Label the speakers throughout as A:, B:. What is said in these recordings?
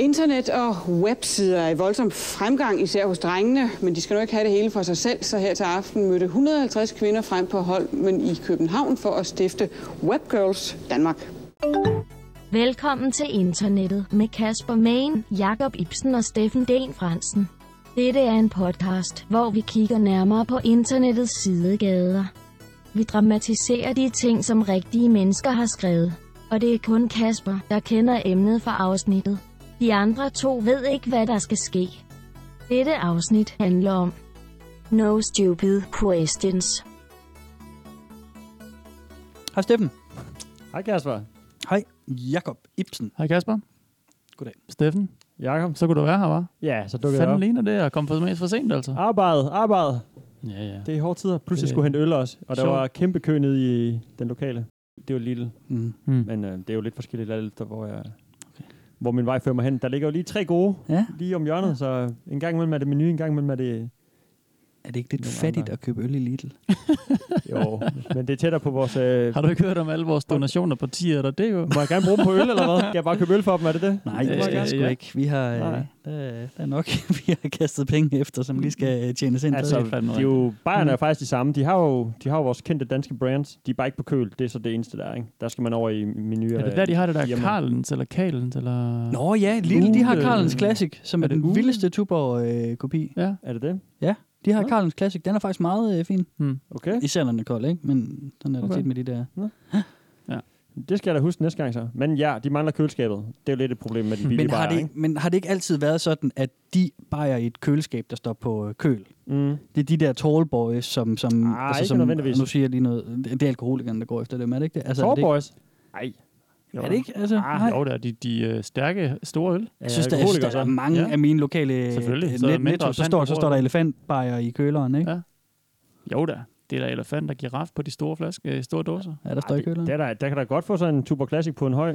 A: Internet og websider er i voldsom fremgang, især hos drengene, men de skal nu ikke have det hele for sig selv, så her til aften mødte 150 kvinder frem på Holmen i København for at stifte Webgirls Danmark.
B: Velkommen til internettet med Kasper Main, Jakob Ibsen og Steffen Den Fransen. Dette er en podcast, hvor vi kigger nærmere på internettets sidegader. Vi dramatiserer de ting, som rigtige mennesker har skrevet. Og det er kun Kasper, der kender emnet for afsnittet. De andre to ved ikke, hvad der skal ske. Dette afsnit handler om No Stupid Questions.
C: Hej Steffen.
D: Hej Kasper.
C: Hej Jakob Ibsen.
D: Hej Kasper.
C: Goddag.
D: Steffen. Jakob.
E: Så kunne du være her, var?
D: Ja, så dukkede jeg
E: Fanden
D: op.
E: ligner det at komme for mest for sent, altså.
D: Arbejde, arbejde.
E: Ja, ja.
D: Det er hårde tider. Pludselig
E: Det-
D: skulle jeg hente øl også, og der
E: Sjovt.
D: var kæmpe kø nede i den lokale. Det var lille,
C: Mm.
E: Mm.
D: men øh, det er jo lidt forskelligt alt efter, hvor, jeg, hvor min vej fører mig hen. Der ligger jo lige tre gode
C: Ja,
D: lige om hjørnet, så en gang imellem er det menu, en gang imellem er det...
C: er det ikke lidt
D: Nogle andre.
C: fattigt at købe øl i Lidl?
D: Jo, men det er tættere på vores... Øh,
E: Har du ikke hørt om alle vores donationer på tier, der det er jo...
D: må jeg gerne bruge dem på øl, eller hvad? Skal jeg bare købe øl for dem, er det det?
C: Nej,
E: Øh,
C: det skal jeg sgu
E: ja.
C: ikke. Vi har, øh,
D: Nej.
C: der, der er nok, vi har kastet penge efter, som lige skal øh, tjenes ind.
D: Altså,
E: det er fandme Mm.
D: de er jo, Bayern er jo faktisk de samme. De har jo, de har jo vores kendte danske brands. De er bare ikke på køl. Det er så det eneste, der er. Ikke? Der skal man over i menuer. øh,
E: Er det der, de har det der
D: Firma.
E: Karlens eller Kalens, eller...
C: Nå ja, Lidl, de har
E: Ule.
C: Carlens Classic, som er
E: Er det
C: den
E: Ule?
C: vildeste Tuborg-kopi.
E: Ja.
D: Er det det?
C: De har
E: Nå.
C: Carlens Classic, den er faktisk meget øh, fin.
E: Hmm.
D: Okay.
C: Især når den er kold, ikke? Men sådan er det
E: Okay.
C: tit med de der.
D: Det skal jeg da huske næste gang så. Men ja, de mangler køleskabet. Det er jo lidt et problem med den billige
C: Men har,
D: bajer,
C: det,
D: ikke?
C: men har det ikke altid været sådan, at de bajer i et køleskab, der står på øh, køl?
D: Mm.
C: Det er de der tall boys, som... som
D: Ah, ikke
C: som,
D: nødvendigvis.
C: Nu siger jeg lige noget. Det er alkoholikerne, der går efter dem, er det ikke det? Altså, er det ikke,
D: Tallboys? Nej.
C: er det ikke? Altså,
D: Ah,
C: nej.
E: Jo, der er de, de øh, stærke, store øl.
C: Jeg synes, der,
D: det
C: jeg synes, der er
D: så.
C: mange
E: Ja.
C: ja. af mine lokale
E: Selvfølgelig.
C: øh,
E: Så er der
C: net,
E: mindre
C: netto, så
E: pant
C: står,
E: på
C: så står
E: bordet.
C: der elefantbajer i køleren, ikke?
E: Jo, der. Det er der elefant og giraf på de store flasker, øh, store dåser.
C: Ja, der står i køleren.
D: Ah, Det er der, der kan da godt få sådan en Tuber Classic på en høj.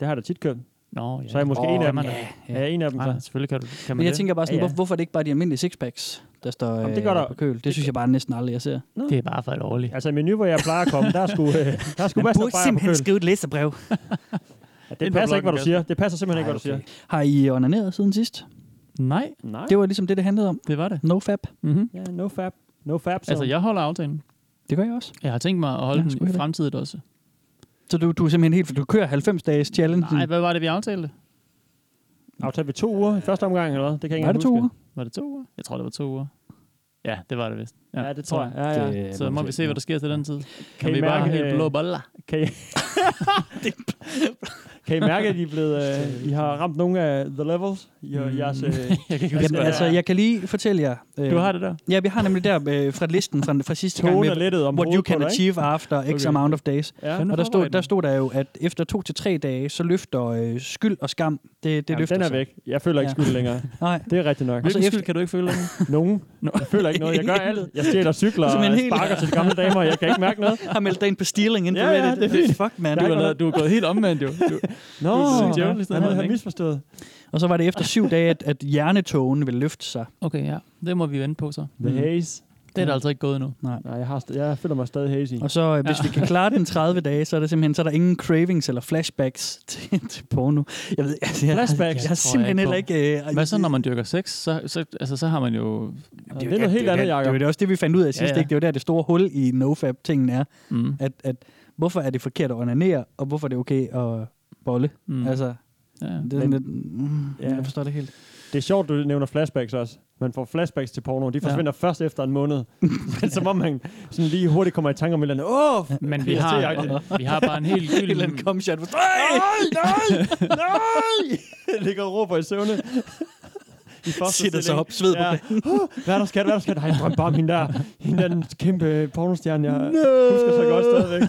D: Det har der tit købt.
E: Nå, ja.
D: Så er jeg måske
E: Åh,
D: en af
E: kan
D: dem.
E: man da.
D: Ja. Er jeg en af dem
E: Nej,
D: så?
E: nej, selvfølgelig kan, du, kan man
C: Men jeg
E: det.
C: tænker bare sådan,
D: Ja,
C: ja,
D: ja.
C: ja. hvorfor er det ikke bare de almindelige sixpacks, der står
D: Jamen,
C: Jamen,
D: det gør der-
C: på køl? Det, synes jeg bare næsten aldrig, jeg ser.
E: det er bare for alvorligt.
D: Altså i menu, hvor jeg plejer at komme, der skulle øh, der skulle masser af bajer på køl.
C: skrive et læserbrev.
D: Ja,
E: Ind
D: det
E: på
D: passer ikke, hvad du
E: blokken,
D: siger. Det passer simpelthen ikke, hvad du siger.
C: Har I øh, onaneret siden sidst?
E: Nej,
D: Nej.
C: Det var ligesom det, det handlede om.
E: det var det.
C: No fab.
E: Mm-hmm.
D: Ja, no fab. No fab, så.
E: Altså, jeg holder aftalen.
C: Det gør jeg også.
E: Jeg har tænkt mig at holde
C: Ja,
E: ja,
C: sgu
E: den i
C: heller.
E: fremtiden også.
C: Så du, du er simpelthen helt... Du kører 90-dages challenge.
E: Nej, hvad var det, vi aftalte?
D: Aftalte vi to uger i første omgang, eller hvad? Det kan jeg ikke
C: var det
D: engang
C: to
D: huske.
C: uger?
E: Var det to uger? Jeg tror, det var to uger. Ja, det var det vist.
D: Ja, det tror jeg. Ja, ja.
C: Det
E: Så
C: må
E: må
C: vi
E: vi
C: se.
E: se, hvad der sker til den tid. Kan
D: I
E: vi bare
D: mærke,
E: have helt
D: øh,
E: blå boller?
D: Kan I, kan I mærke, at I, er blevet, øh, I har ramt nogle af the levels? I, mm.
E: Mm.
D: jeres, øh,
E: Jeg kan ikke
C: Jamen,
D: Ja.
C: altså, jeg kan lige fortælle jer... Øh,
E: Du har det der?
C: Ja, vi har nemlig der øh, fra listen fra, fra sidste gang
D: tone er
C: med,
D: lettet om
C: what you
D: hovedet på
C: can
D: dig,
C: achieve
D: ikke?
C: after X
D: Okay.
C: amount of days.
D: Ja.
E: Fanden
C: Og der stod,
E: forberedt
C: der
E: mig.
C: stod der jo, at efter to til tre dage, så løfter øh, skyld og skam, det, det
D: Jamen,
C: løfter
D: den er
C: sig.
D: væk. Jeg føler ikke
C: Ja.
D: ja. skyld længere.
C: Nej.
D: Det er rigtigt nok.
C: Og så
E: Hvilken skyld
C: efter-
E: kan du ikke føle? den?
D: Nogen.
E: Nå.
D: Jeg føler ikke noget. Jeg gør alt. Jeg stjæler cykler og
C: Som en hel-
D: sparker til de gamle damer. Jeg kan ikke mærke noget.
C: har meldt dig ind på stealing inden
D: Ja,
C: du ved
D: ja,
C: det.
D: det er fint.
C: Fuck, man.
D: Der
E: Du
D: er
E: er,
D: ikke
E: lavet- du er gået helt omvendt, jo. Du,
D: Nå,
E: Du er sådan en djævel i stedet
D: han
E: for,
D: havde
E: ikke?
D: misforstået.
C: Og så var det efter syv dage, at, at hjernetogen ville løfte sig.
E: okay, ja. Det må vi vente på så.
C: Mm.
D: The haze.
E: Det er der altså ikke gået endnu.
D: Nej, jeg, har st- jeg føler mig stadig hazy.
C: Og så, øh, hvis vi kan klare den 30 dage, så er der simpelthen så er der ingen cravings eller flashbacks til, til porno. Jeg ved, altså, jeg,
D: Flashbacks?
C: Jeg,
E: tror
C: har simpelthen
E: jeg
C: heller
E: ikke
C: ikke... Øh,
E: Hvad så, når man dyrker sex? Så, så, altså, så har man jo...
D: Nå, det er noget helt andet,
C: Det var
D: Jacob.
C: det også det, vi fandt ud af sidst.
E: Ja,
C: Ja,
E: ja.
C: ja. Ikke? Det var der, det store hul i nofab-tingen er.
E: Mm,
C: At, at hvorfor er det forkert at onanere, og hvorfor er det okay at bolle?
E: mm,
C: Mm.
E: altså,
C: Altså,
E: ja.
C: det er sådan
D: Men-
C: lidt... Mm,
D: Ja.
C: ja. Jeg forstår det helt.
D: Det er sjovt, du nævner flashbacks også. Man får flashbacks til porno. De forsvinder først efter en måned. Men som om man sådan lige hurtigt kommer i tanke om et eller andet. Åh, oh,
E: Men vi har, vi har bare en helt
C: Et eller andet
E: gylden...
C: komshot.
D: nej, nej, nej! Jeg ligger og råber i søvne. I første
C: Sætter sig
D: stilling.
C: op, sved på
D: ja. Uh, hvad er der skat, hvad er der skat? Nej, jeg drømte bare om hende der. Hende der, den kæmpe pornostjerne, jeg husker så godt stadigvæk.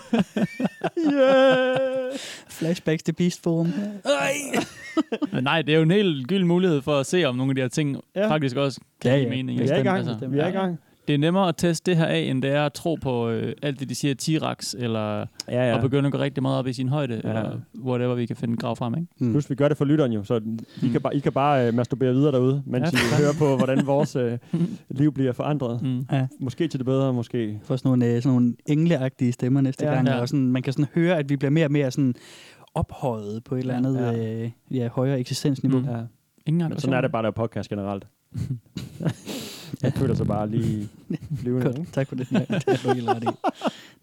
D: yeah!
C: Flashbacks til Beast Forum.
E: Men nej, det er jo en helt gylden mulighed for at se, om nogle af de her ting
D: Ja.
E: faktisk også kan
C: Ja,
E: give
C: ja.
E: mening. Altså,
D: Vi er i gang. Vi er i gang.
E: Det er nemmere at teste det her af, end det er at tro på øh, alt det, de siger, T-Rex, eller
D: Ja,
E: ja. at begynde at gå rigtig meget op i sin højde, ja.
D: Ja.
E: eller whatever vi kan finde en grav frem, ikke?
C: Mm.
D: Plus, vi gør det for lytteren jo, så I kan bare, I kan bare øh, masturbere videre derude, mens
E: Ja,
D: ja,
E: for
D: I hører på, hvordan vores øh, liv bliver forandret.
E: Mm.
D: Måske til det bedre, måske.
C: får sådan nogle, øh, sådan nogle engleagtige stemmer næste
D: Ja.
C: ja, gang.
E: Ja.
C: Ja. Og sådan, man kan sådan høre, at vi bliver mere og mere sådan ophøjet på et eller
E: Ja.
C: andet
D: Ja.
C: ja. Øh, ja, højere eksistensniveau.
E: Mm.
C: Mm.
D: Ja.
E: Ingen gang.
D: Men sådan er det bare at lave podcast generelt. Jeg føler sig bare lige flyvende.
C: Godt, tak for det. Ja, det er du helt ret i.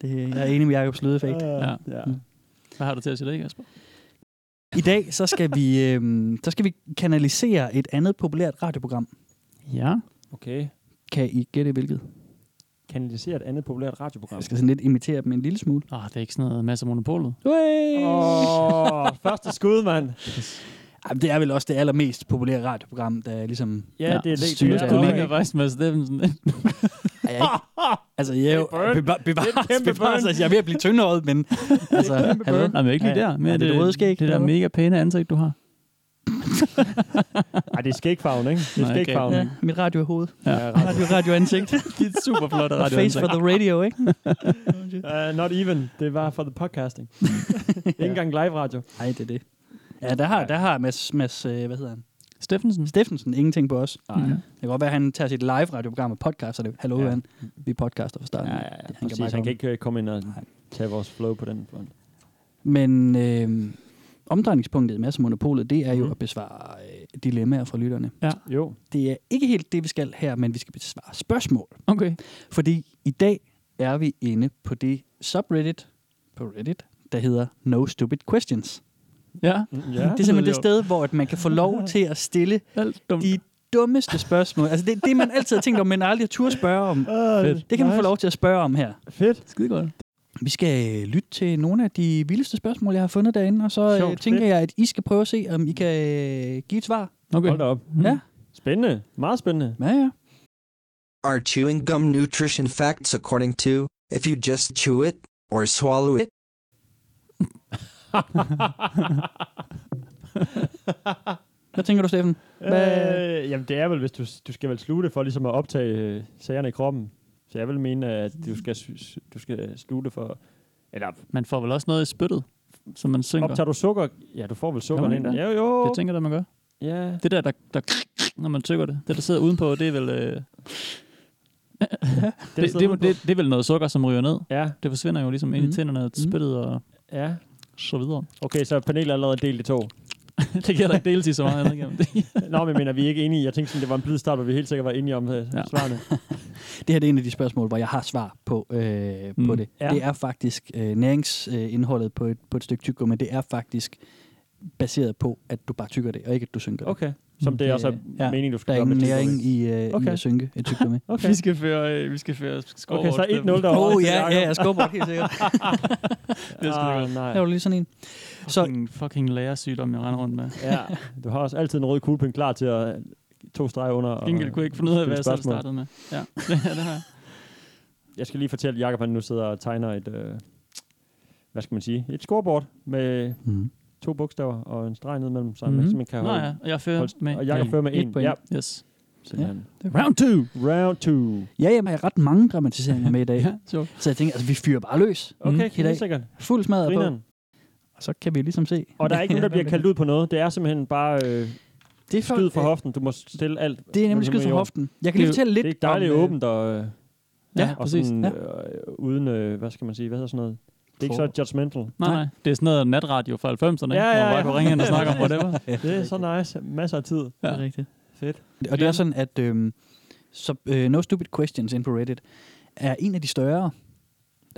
C: Det, jeg er enig med Jacobs lydeffekt.
D: Ja. Ah, ja.
E: Hvad har du til at sige det, Kasper?
C: I dag så skal vi øhm, så skal vi kanalisere et andet populært radioprogram.
E: Ja.
D: Okay.
C: Kan I gætte hvilket?
D: Kanalisere et andet populært radioprogram.
C: Jeg skal sådan lidt imitere dem en lille smule.
E: Ah, det er ikke sådan noget masser af monopolet.
D: Åh, første skud, mand.
C: Ej, men Det er vel også det allermest populære radioprogram, der er ligesom...
D: Ja, det er lidt
C: styrer
D: det
C: det.
D: er
E: Du ja,
D: nok
E: ligner
D: ikke.
E: faktisk Mads Steffensen.
C: Ej, jeg er ikke- altså, jeg er jo... Bevar,
D: burn. Det er et
C: bevares,
D: kæmpe
C: bevares,
D: burn.
C: altså, jeg er ved at blive tyndhåret, men... Altså, hallo?
E: Nej, men ikke lige
D: Ja.
E: der. Mere
C: Ja, det er det røde skæg,
E: Det der
C: eller hvad?
E: mega pæne ansigt, du har.
D: Ej, det er skægfarven, ikke? Det er
E: Nej,
D: skægfarven,
C: Ja,
D: ikke?
C: mit radiohoved.
E: Ja.
D: Ja, radio.
C: Radio, radio ansigt.
E: Det er altså- super flot radio.
C: Face for the radio, ikke?
D: Uh, not even. Det var for the podcasting. Ikke engang live radio.
C: Nej, det er det. Ja, der har, der har Mads, Mads øh, hvad hedder han?
E: Steffensen.
C: Steffensen ingenting på os.
D: Nej.
E: Mhm.
C: Det kan godt være, at han tager sit live radioprogram og podcaster det. Hallo,
D: Ja.
C: ja. Vi podcaster fra starten.
E: Ja, ja, ja.
C: Det- Han kan
D: Præcis,
C: bare
D: han kan
C: komme.
D: ikke øh, komme ind og
C: Nej.
D: tage vores flow på den front.
C: Men øh, omdrejningspunktet i Mads og Monopolet, det er jo
D: Mhm.
C: at besvare øh, dilemmaer fra lytterne.
D: Jo. Mm,
C: Det er ikke helt det, vi skal her, men vi skal besvare spørgsmål.
E: Okay.
C: Fordi i dag er vi inde på det subreddit på Reddit, der hedder No Stupid Questions.
E: Ja.
D: Mm, Ja.
C: Det er simpelthen det
E: jo.
C: sted, hvor at man kan få lov til at stille
E: Alt dumt.
C: de dummeste spørgsmål. Altså det, det man altid har tænkt om, men aldrig har turde spørge om.
D: Uh,
C: Det kan man få lov til at spørge om her.
D: Fedt.
E: Skide godt.
C: Vi skal øh, lytte til nogle af de vildeste spørgsmål, jeg har fundet derinde, og så øh,
D: Sjovt,
C: tænker
D: fedt.
C: jeg, at I skal prøve at se, om I kan øh, give et svar.
E: Okay.
D: Hold da op.
E: Mhm.
C: Ja.
D: Spændende. Meget spændende.
C: Ja, ja.
F: Are chewing gum nutrition facts according to if you just chew it or swallow it?
C: Hvad tænker du, Steffen? Hvad-
D: Øh, jamen, det er vel, hvis du, du skal vel slutte for ligesom at optage øh, sagerne i kroppen. Så jeg vil mene, at du skal, sy- sy- du skal slutte for... Eller
E: Man får vel også noget i spyttet, som man synker.
D: optager du sukker? Ja, du får vel sukker
E: man
D: ind.
E: ikke
D: Ja, jo.
E: Jeg tænker, det man gør.
D: Ja.
E: Det der, der, der når man tykker det. Det, der sidder udenpå, det er vel... Øh, det, det, det, det, det, er vel noget sukker, som ryger ned.
D: Ja,
E: Det forsvinder jo ligesom ind i
C: Mhm.
E: tænderne og spyttet og
D: ja.
E: så videre.
D: Okay, så er panelet allerede delt i to.
E: det kan jeg da ikke dele til så meget andet igennem.
D: Nå, men jeg mener, vi er ikke enige. Jeg tænkte sådan, det var en blid start, hvor vi helt sikkert var enige om øh, svarene.
C: Det her det er en af de spørgsmål, hvor jeg har svar på, øh, mm. på
E: Mm.
C: det.
D: Ja.
C: Det er faktisk øh, næringsindholdet på et, på et stykke tyggegummi, det er faktisk baseret på, at du bare tykker det, og ikke at du synker det.
D: Okay. Som det
C: Det-
E: Mm,
D: også er
C: ja.
D: meningen, du skal
C: Der er
D: gøre med
C: ingen næring
D: det.
C: i, øh, okay. i
D: Okay.
C: at synke et tyggegummi.
D: Okay.
E: skal føre, øh, vi skal føre skov
D: Okay,
E: øh,
D: så 1-0
C: Åh
D: derovre.
C: oh, ja, ja, jeg skubber helt sikkert.
E: Det skal
D: ah,
E: du
D: nej.
C: Der var lige sådan en.
E: Så
C: Så
E: en fucking lærersygdom, jeg render rundt med.
D: Ja, du har også altid en rød kuglepind klar til at to streger under. og-
E: Gengæld kunne jeg ikke finde ud af, hvad jeg selv
D: øh, Spørgsmål.
E: startede med. Ja, det, det har jeg.
D: Jeg skal lige fortælle, at Jacob han nu sidder og tegner et, øh, hvad skal man sige, et scoreboard med
C: mm.
D: to bogstaver og en streg ned mellem sig,
C: Mhm.
D: mm-hmm. så man kan
E: Nå
D: holde.
E: ja, og jeg fører
D: Hold-
E: med.
D: Og Jacob
E: en.
D: fører med
C: Et
D: en.
C: point.
D: Ja,
E: Yes.
D: simpelthen.
E: Round two!
D: Round two.
C: ja, jamen, jeg har ret mange dramatiseringer med i dag.
E: Ja, sjovt.
C: Så jeg tænker, altså, vi fyrer bare løs.
D: Okay,
C: i dag.
D: helt sikkert.
C: Fuld smadret på.
D: Grineren.
C: Og så kan vi ligesom se.
D: Og der er ikke nogen, der bliver kaldt ud på noget. Det er simpelthen bare øh,
C: Det er for- øh,
D: skyd for hoften. Du må stille alt.
C: Det er
D: Men
C: nemlig
D: så
C: skyd
D: må
C: fra
D: I over.
C: hoften. Jeg kan lige
D: Det er-
C: fortælle lidt
D: Det er dejligt
C: om, øh,
D: åbent og, øh,
E: Ja,
D: og
E: præcis.
D: sådan,
C: ja.
D: øh, uden, øh, hvad skal man sige, hvad hedder sådan noget? Det er ikke så judgmental.
E: Nej, nej. Det er sådan noget natradio fra 90'erne,
D: Ja,
E: ikke? hvor
D: ja,
E: man bare
D: ja.
E: kunne ringe ind og snakke om whatever.
D: Det er så nice. Masser af tid.
E: Ja.
C: Det er rigtigt.
D: Fedt.
C: Og det er sådan, at øhm, så, øh, No Stupid Questions inde på Reddit er en af de større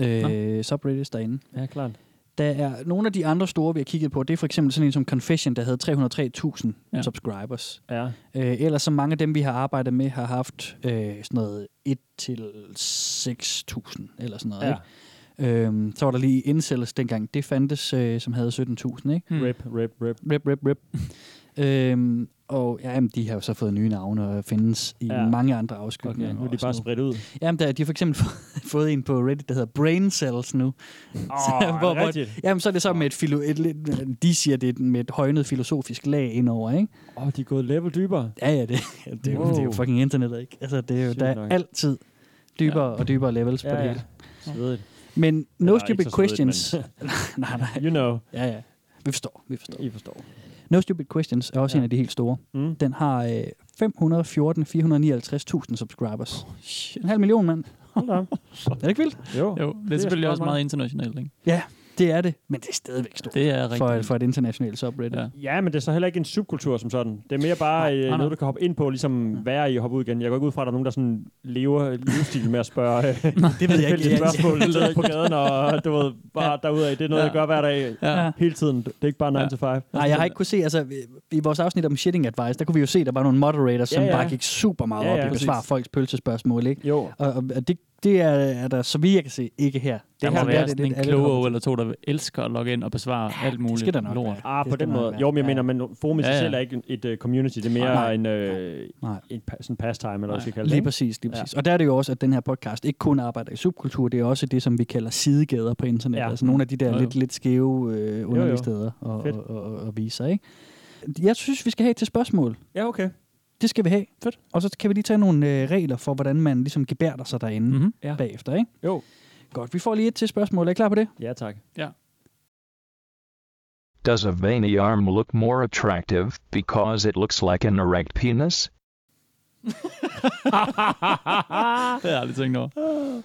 C: øh, subreddits derinde.
D: Ja, klart.
C: Der er nogle af de andre store, vi har kigget på, det er for eksempel sådan en som Confession, der havde 303.000
E: Ja.
C: ja. subscribers.
D: Ja.
C: Øh, ellers så mange af dem, vi har arbejdet med, har haft øh, sådan noget 1 til 6.000 eller sådan noget.
D: ja.
C: Ja. Ikke? Øhm, så var der lige Incels dengang. Det fandtes, øh, som havde 17.000, ikke?
E: Hmm.
D: Rip, rip, rip.
C: Rip, rip, rip. øhm, og ja, jamen, de har jo så fået nye navne og findes i
D: Ja.
C: ja. mange andre afskygninger.
D: Okay, nu er
C: og
D: de bare
C: sådan noget.
D: spredt ud.
C: Jamen, der, de har for eksempel fået- fået en på Reddit, der hedder Brain Cells nu.
D: Åh, er det
C: hvor- hvor-
D: rigtigt?
C: Jamen, så er det så med et, filo, et, lidt- de siger, det er med et højnet filosofisk lag indover, ikke?
D: Åh, de er gået level dybere.
C: Ja, ja, det, det, er jo- det er jo
D: Wow.
C: fucking internet, ikke? Altså, det er jo,
D: Sygt
C: der er
D: nok.
C: altid dybere ja. og dybere levels ja, på det hele.
D: Svedigt.
C: Men no
D: Eller
C: stupid
D: ikke så svedigt,
C: questions... nej, nej,
D: You know.
C: ja, ja. Vi forstår, vi forstår.
D: I forstår.
C: No stupid questions er også ja.
D: Ja.
C: en af de helt store.
D: Mm.
C: Den har øh, 514.459.000 subscribers.
E: Shit.
C: En halv million, mand.
D: Hold da. op.
C: Er det ikke vildt?
D: Jo.
E: Jo, det er
D: Det er
E: selvfølgelig
D: sgu
E: også
D: meget.
E: meget internationalt, ikke?
C: Ja, Det er det, men det er stadigvæk stort
E: Det er rigtigt.
C: for, for et internationalt subreddit.
E: Ja.
C: Ja.
D: Ja, men det er så heller ikke en subkultur som sådan. Det er mere bare nej,
E: nej,
D: øh,
E: nej.
D: noget, du kan hoppe ind på, ligesom være i og hoppe ud igen. Jeg går ikke ud fra, at der er nogen, der sådan lever livsstil med at spørge øh,
C: Det ved jeg ikke.
D: fælles
C: lige.
D: spørgsmål ned på gaden, og du ved, bare derude af. Det er noget,
E: Ja.
D: jeg gør hver dag.
E: Ja.
D: Hele tiden. Det er ikke bare 9
E: Ja.
D: to 5.
C: Nej, jeg har ikke kunne se, altså vi- i vores afsnit om shitting advice, der kunne vi jo se, at der var nogle moderators,
D: Ja,
C: som
D: ja.
C: bare gik super meget
D: Ja,
C: op
D: ja.
C: i at besvare
E: Præcis.
C: folks pølsespørgsmål, ikke?
D: Jo.
C: Og, og- og det, det er, er der, så vidt jeg kan se, ikke her.
E: Der
C: her
E: må være sådan en
C: lidt- er lidt
E: kloge
C: hårdt.
E: eller to, der elsker at logge ind og besvare ja, alt muligt
C: skal der nok
E: lort.
C: være.
D: Ah,
C: Det
D: på
C: skal
D: den
C: nok
D: måde.
C: være.
D: Jo, men jeg
C: Ja,
D: mener,
C: ja.
D: men forum i sig
E: Ja, ja.
D: selv er ikke en- et øh, community. Det er mere
C: Nej,
D: en, øh,
C: Nej.
D: en pa- sådan pastime, eller hvad jeg skal kalde det.
C: Lige
D: ikke?
C: præcis, lige
D: Ja.
C: præcis. Og der er det jo også, at den her podcast ikke kun arbejder i subkultur, det er også det, som vi kalder sidegader på internet.
D: Ja.
C: Ja. Altså nogle af de der
E: Jo, jo.
C: lidt, lidt skæve øh,
D: Jo, jo.
C: underlige steder og,
D: Fedt.
C: og, og, og vise sig, ikke? Jeg synes, vi skal have et til spørgsmål.
D: Ja, okay.
C: Det skal vi have.
D: Fedt.
C: Og så kan vi lige tage nogle øh, regler for, hvordan man ligesom gebærder sig derinde
E: Mm-hmm.
D: Mhm. Ja.
C: ja. bagefter, ikke?
D: Jo.
C: Godt, vi får lige et til spørgsmål. Er I klar på det?
D: Ja, tak.
G: Does a veiny arm look more attractive because it looks like an erect penis?
E: det har jeg aldrig tænkt over.
C: Ah.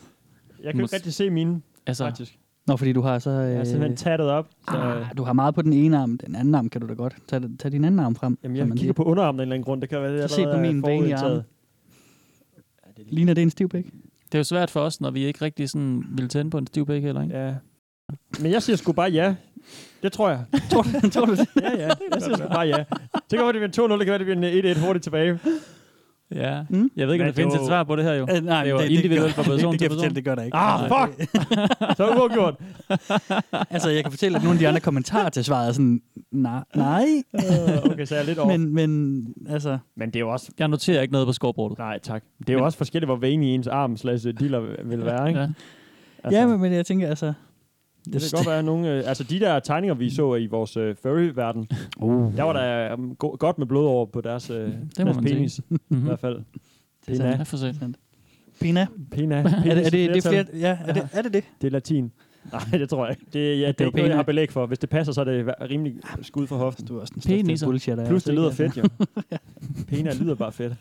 D: Jeg kan jo ikke
E: Mås-
D: rigtig se mine,
E: Altså,
D: faktisk.
C: Nå, fordi du har så... Øh,
D: Jeg er simpelthen tattet op. Så, øh,
C: ah, du har meget på den ene arm. Den anden arm kan du da godt. Tag, tag din anden arm frem.
D: Jamen,
C: så
D: jeg
C: man
D: kigger
C: lige-
D: på underarmen af en eller anden grund. Det kan være, det
C: Så se på min vanlige arm. Ligner det en stiv pæk?
E: det er jo svært for os, når vi ikke rigtig sådan ville tænde på en stiv bæk heller, ikke?
D: Ja. Men jeg siger sgu bare ja. Det tror jeg.
C: tror, du- tror du det?
D: Ja, ja. Jeg siger sgu bare ja. Det kan være, det bliver en 2-0, det kan være, det bliver en 1-1 hurtigt tilbage.
E: Ja.
C: Mm?
E: Jeg ved ikke, om
D: Men
E: der findes
D: det er
E: et
D: jo-
E: svar på det her, jo.
C: Øh, nej,
E: Det var individuelt fra person
C: det,
E: til
C: det,
E: person.
C: det, det gør der ikke.
D: Ah, fuck! Så er det uafgjort.
C: Altså, jeg kan fortælle, at nogle af de andre kommentarer til svaret er sådan, nej, nej,
D: Øh, Okay, så er jeg lidt over. Men,
C: men, men altså,
D: men det er jo også...
E: Jeg noterer ikke noget på scoreboardet.
D: Nej, tak. Det er jo også forskelligt, hvor venig ens arm slags dealer vil være, ikke?
E: Ja.
C: altså, ja, men, men jeg tænker, altså,
D: Det kan godt være nogle... Øh, altså, de der tegninger, vi så i vores øh, furry-verden,
C: uh,
D: der var der um, go- godt med blod over på deres, øh,
E: må
D: deres
E: man
D: penis. I
E: Mm-hmm.
D: hvert fald.
C: er
D: Pena.
E: Ja, for sent.
C: Pina,
D: Pena.
C: er det, er det, det
D: Penis,
C: er flere, ja, er det, er det det?
D: Det er latin. Nej, det tror jeg ikke. Det, ja, det,
C: er
D: er
C: jo
D: ikke noget,
C: pænt.
D: jeg har belæg for. Hvis det passer, så er det rimelig skud for hoften.
C: Du er også den
E: Peniser.
C: største bullshit, der er,
D: Plus, det
C: altså,
D: lyder
C: ikke?
D: fedt, jo. Pena lyder bare fedt.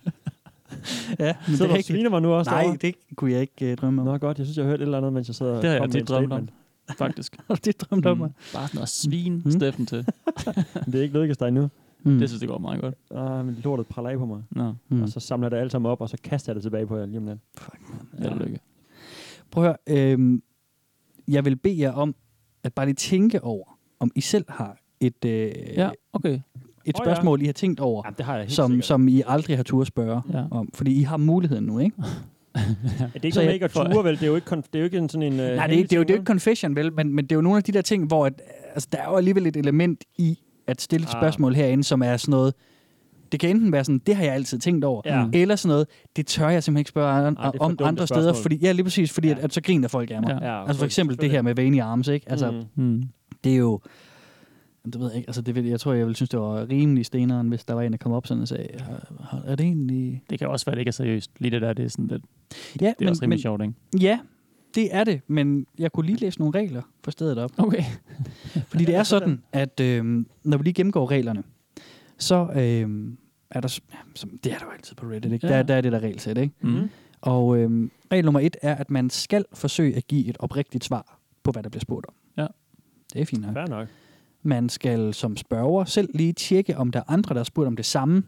C: Ja, men
D: Så
C: det
D: du
C: er
D: og
C: ikke,
D: sviner mig nu også
C: nej,
D: derovre?
C: det kunne jeg ikke uh, drømme om.
D: Nå godt, jeg synes, jeg har hørt et eller andet, mens jeg sad og
E: Det har jeg
D: kom med
E: tit
D: et
E: drømt om,
D: statement.
E: faktisk.
C: det drømte om mig.
E: Mm. Bare sådan noget svin,
C: Mm.
E: Steffen til.
D: Men Det er ikke lykkedes dig endnu.
C: Mm.
E: Det altså, synes jeg går meget godt.
D: Ah, men lortet praller af på mig.
E: Nå,
C: Mm.
D: Og så samler jeg det alt sammen op, og så kaster jeg det tilbage på jer lige om lidt.
E: held og lykke.
C: Prøv at høre, øhm, jeg vil bede jer om, at bare lige tænke over, om I selv har et, øh,
E: Ja,
C: ja.
E: okay.
C: et
D: Åh,
C: spørgsmål, oh, ja. I har tænkt over,
D: Jamen, det har jeg helt
C: som,
D: sikkert.
C: som I aldrig har tur at spørge
E: Ja.
C: om. Fordi I har muligheden nu, ikke?
D: Er det er ikke
C: Så
D: noget med
C: jeg-
D: ikke at
E: for-
D: ture, vel? Det er jo ikke, kon- det er jo ikke en sådan en... øh,
C: Nej, det, er- det, er jo, det er jo ikke confession, vel? Men, men det er jo nogle af de der ting, hvor at, altså, der er jo alligevel et element i at stille et
D: Ah.
C: spørgsmål herinde, som er sådan noget... Det kan enten være sådan, det har jeg altid tænkt over,
D: Ja.
C: eller sådan noget, det tør jeg simpelthen ikke spørge an-
D: Ah, det er for
C: om
D: dumt et
C: andre steder,
D: spørgsmål.
C: fordi, ja, lige præcis, fordi
D: Ja.
C: ja. At, at, så griner folk af mig.
E: Ja.
C: Ja.
D: Ja,
C: Altså for eksempel det her med vanlige arms, ikke? Altså,
D: Mm.
E: Mm.
C: det er jo... Jamen, Det ved jeg ikke. Altså, det vil, jeg tror, jeg ville synes, det var rimelig steneren, hvis der var en, der kom op sådan og sagde, "Har- har- er det egentlig...
E: Det kan også være, at det ikke er seriøst. Lige det der, det er sådan lidt,
C: Ja,
E: det er men, også rimelig men, sjovt, ikke?
C: ja, det er det, men jeg kunne lige læse nogle regler for stedet op.
E: Okay.
C: Fordi det er sådan, at øh, når vi lige gennemgår reglerne, så øh, er der... s- Ja, som, det er der jo altid på Reddit, ikke?
E: Ja.
C: Ja. Der, der er det der regelsæt, ikke?
E: Mm.
C: Og øh, regel nummer et er, at man skal forsøge at give et oprigtigt svar på, hvad der bliver spurgt om.
E: Ja.
C: Det er fint nok.
D: Fair nok.
C: Man skal som spørger selv lige tjekke, om der er andre, der har spurgt om det samme,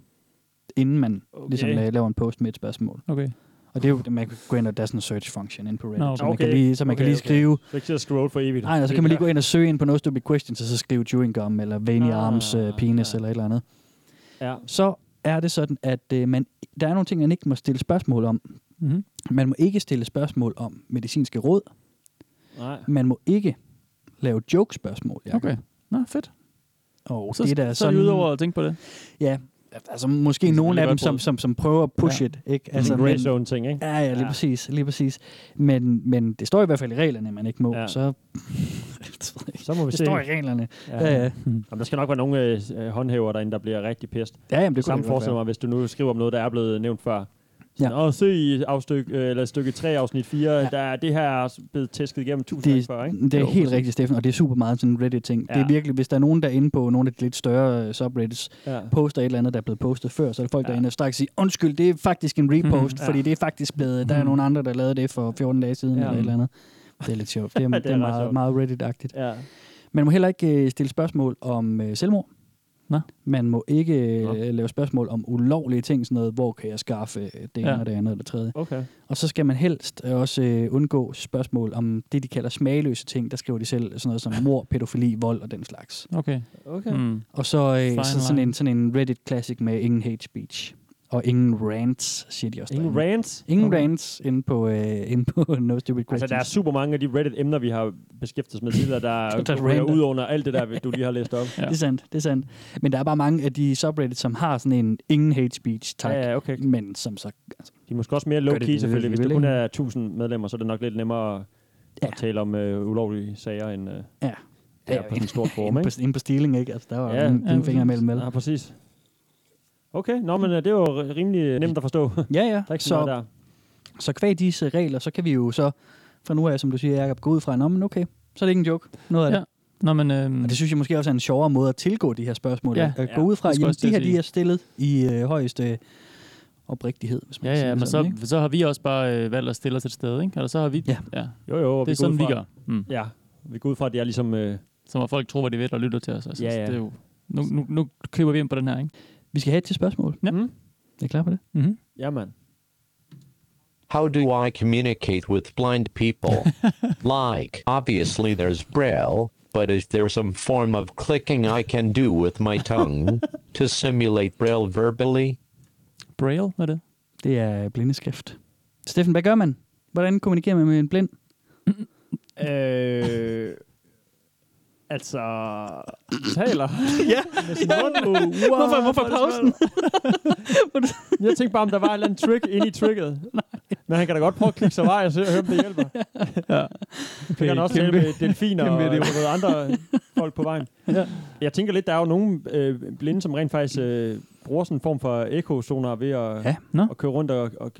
C: inden man okay. ligesom
D: Okay.
C: øh, laver en post med et spørgsmål.
E: Okay.
C: Og det er jo, man kan gå ind og der er sådan en search function inde på Reddit,
E: Nå,
C: så man
D: okay.
C: kan lige, så man
D: Okay,
C: kan lige
D: okay.
C: skrive,
D: Så ikke sidde og scroll for evigt.
C: nej, og så kan man lige gå ind og søge ind på noget stupid questions, og så skrive chewing gum, eller veiny
D: Ah,
C: arms, øh, penis,
D: ja.
C: eller et eller andet.
D: Ja.
C: Så er det sådan, at øh, man, der er nogle ting, man ikke må stille spørgsmål om.
E: Mm-hmm.
C: Man må ikke stille spørgsmål om medicinske råd.
D: Nej.
C: Man må ikke lave joke-spørgsmål, Jacob.
E: Okay. Nå, fedt.
C: Og
E: Så,
C: det der
E: så er vi ude over at tænke på det.
C: Ja, altså
E: Det
C: måske
E: er
C: nogle af dem,
E: selvfølgelig
C: som, som,
E: godt
C: som prøver at push
E: Ja.
C: ja. it. Ikke?
D: Altså,
C: Altså,
D: en
C: men,
D: gray zone ting, ikke?
C: ja, ja, lige
D: Ja.
C: præcis. Lige præcis. Men, men det står i hvert fald i reglerne, at man ikke må.
D: Ja.
C: Ja. Så, det ved jeg ikke.
D: Så må vi
C: det
D: se.
C: står i reglerne.
D: Ja.
C: Ja, ja.
D: Jamen, der skal nok være nogle øh, øh, håndhæver derinde, der bliver rigtig pist.
C: ja jamen,
D: Det
C: det kunne
D: samme
C: det godt
D: forestiller
C: være.
D: mig, hvis du nu skriver om noget, der er blevet nævnt før.
C: Ja.
D: Ja. Og se i afstyk, øh, eller stykke 3, afsnit 4, ja. der er det her er blevet tæsket igennem tusind gange
C: Det,
D: før, ikke?
C: det er
E: Jo,
C: jo, helt
E: præcis.
C: rigtigt, Steffen, og det er super meget sådan en Reddit-ting. Ja. Det
D: Ja.
C: er virkelig, hvis der er nogen, der er inde på nogle af de lidt større uh, subreddits,
D: Ja.
C: poster et eller andet, der er blevet postet før, så er der folk, ja. der
D: Ja.
C: er inde og straks siger, undskyld, det er faktisk en repost,
E: Mm,
C: mm,
D: ja.
C: fordi det er faktisk blevet, der er
E: Mm.
C: nogle andre, der lavede det for 14 dage siden,
D: Ja.
C: ja. eller et eller andet. Det er lidt sjovt. Det er, det er,
D: ret
C: meget,
D: sjovt.
C: meget Reddit-agtigt.
D: Ja.
C: Man må heller ikke øh, stille spørgsmål om øh, selvmord.
E: Nå.
C: Man må ikke
E: Nå.
C: øh, lave spørgsmål om ulovlige ting, sådan noget, hvor kan jeg skaffe øh, det ene
E: Ja.
C: og det andet eller tredje.
D: Okay.
C: Og så skal man helst øh, også øh, undgå spørgsmål om det, de kalder smagløse ting. Der skriver de selv sådan noget som mor, pædofili, vold og den slags.
E: Okay.
D: Okay.
C: Hmm.
D: Mm.
E: Mm.
C: Og så,
E: Fine
C: øh, så sådan,
E: line.
C: en, sådan en Reddit-classic med ingen hate speech. Og ingen rants, siger de også.
D: Ingen
C: derinde.
D: rants.
C: Ingen
E: Okay.
C: rants inde på, øh, inde på No Stupid Questions.
D: Altså, der er super mange af de Reddit-emner, vi har beskæftiget os med tidligere, der,
C: Der
D: der
C: er
D: ryger
C: random.
D: ud under alt det der, du lige har læst op.
E: Ja.
C: Det er sandt, det er sandt. Men der er bare mange af de subreddits, som har sådan en ingen hate speech tak,
D: Ja, ja, okay.
C: men som så... Altså,
D: De er måske også mere
C: Gør det,
D: low-key
C: det
D: selvfølgelig. Hvis
C: vil,
D: der kun
C: ikke?
D: er 1000 medlemmer, så er det nok lidt nemmere at,
C: Ja.
D: ja. at tale om øh, ulovlige sager end øh, det
C: ja.
D: er på sådan en stor forum,
C: inde,
D: ikke?
C: på, inde på stiling, ikke? Altså, der var
D: Ja,
C: ja, ingen,
E: ja,
C: ingen fingre
E: præcis.
C: imellem. vel?
D: Ja, præcis. Okay, nå, men øh, det er jo ri- rimelig nemt at forstå. der
C: Ja, ja.
D: er ikke så
C: Så,
D: meget der.
C: så kvæg disse regler, så kan vi jo så fra nu af, som du siger, Jacob, gå ud fra, nå, men okay, så er det ikke en joke. Noget af
E: Ja.
C: det.
E: Nå, men... Øhm,
C: Og det synes jeg måske også er en sjovere måde at tilgå de her spørgsmål.
E: Ja.
C: Ja, at gå
D: Ja,
C: ud fra,
E: det skulle
C: jamen,
E: også til
C: de
E: at
C: her, de
E: sige.
C: er stillet i øh, højeste oprigtighed, hvis man
E: ja,
C: kan sige
E: ja,
C: det
E: men
C: sådan,
E: så,
C: ikke?
E: så har vi også bare øh, valgt at stille os et sted, ikke? Eller så har vi...
C: Ja.
E: ja.
D: Jo, jo, og
E: Det er
D: går ud
E: sådan, vi
D: fra-
E: gør. Mm.
D: Ja, vi går ud fra, at det er ligesom... Øh,
E: Som at folk tror, hvad de ved, og lytter til os. Altså,
D: Ja,
E: Så
D: ja.
E: Det er jo, nu, nu, nu køber vi ind på den her, ikke?
C: Vi skal have et til spørgsmål.
E: Ja.
D: Mm.
C: Er I klar på det?
E: Mm-hmm.
D: ja, mand.
H: How do I communicate with blind people? like, obviously there's braille, but is there some form of clicking I can do with my tongue to simulate braille verbally?
E: Braille, hvad er det?
C: Det er blindeskrift. Steffen, hvad gør man? Hvordan kommunikerer man med en blind?
D: Øh, altså... Taler.
C: Ja.
D: Med sin mund. Wow,
C: Hvorfor- hvorfor
D: hvor er det
C: pausen?
D: svært. jeg tænkte bare, om der var et eller andet trick inde i tricket. Men han kan da godt prøve at klikke sig vej og se, og høre, om det hjælper. ja. Det kan han også tale med delfiner
E: kæmpe
D: og
E: idiot.
D: noget andre folk på vejen.
E: Ja.
D: Jeg tænker lidt, der er jo nogle øh, blinde, som rent faktisk øh, bruger sådan en form for ekozoner ved at,
C: Ja,
E: nå.
D: at køre rundt og... og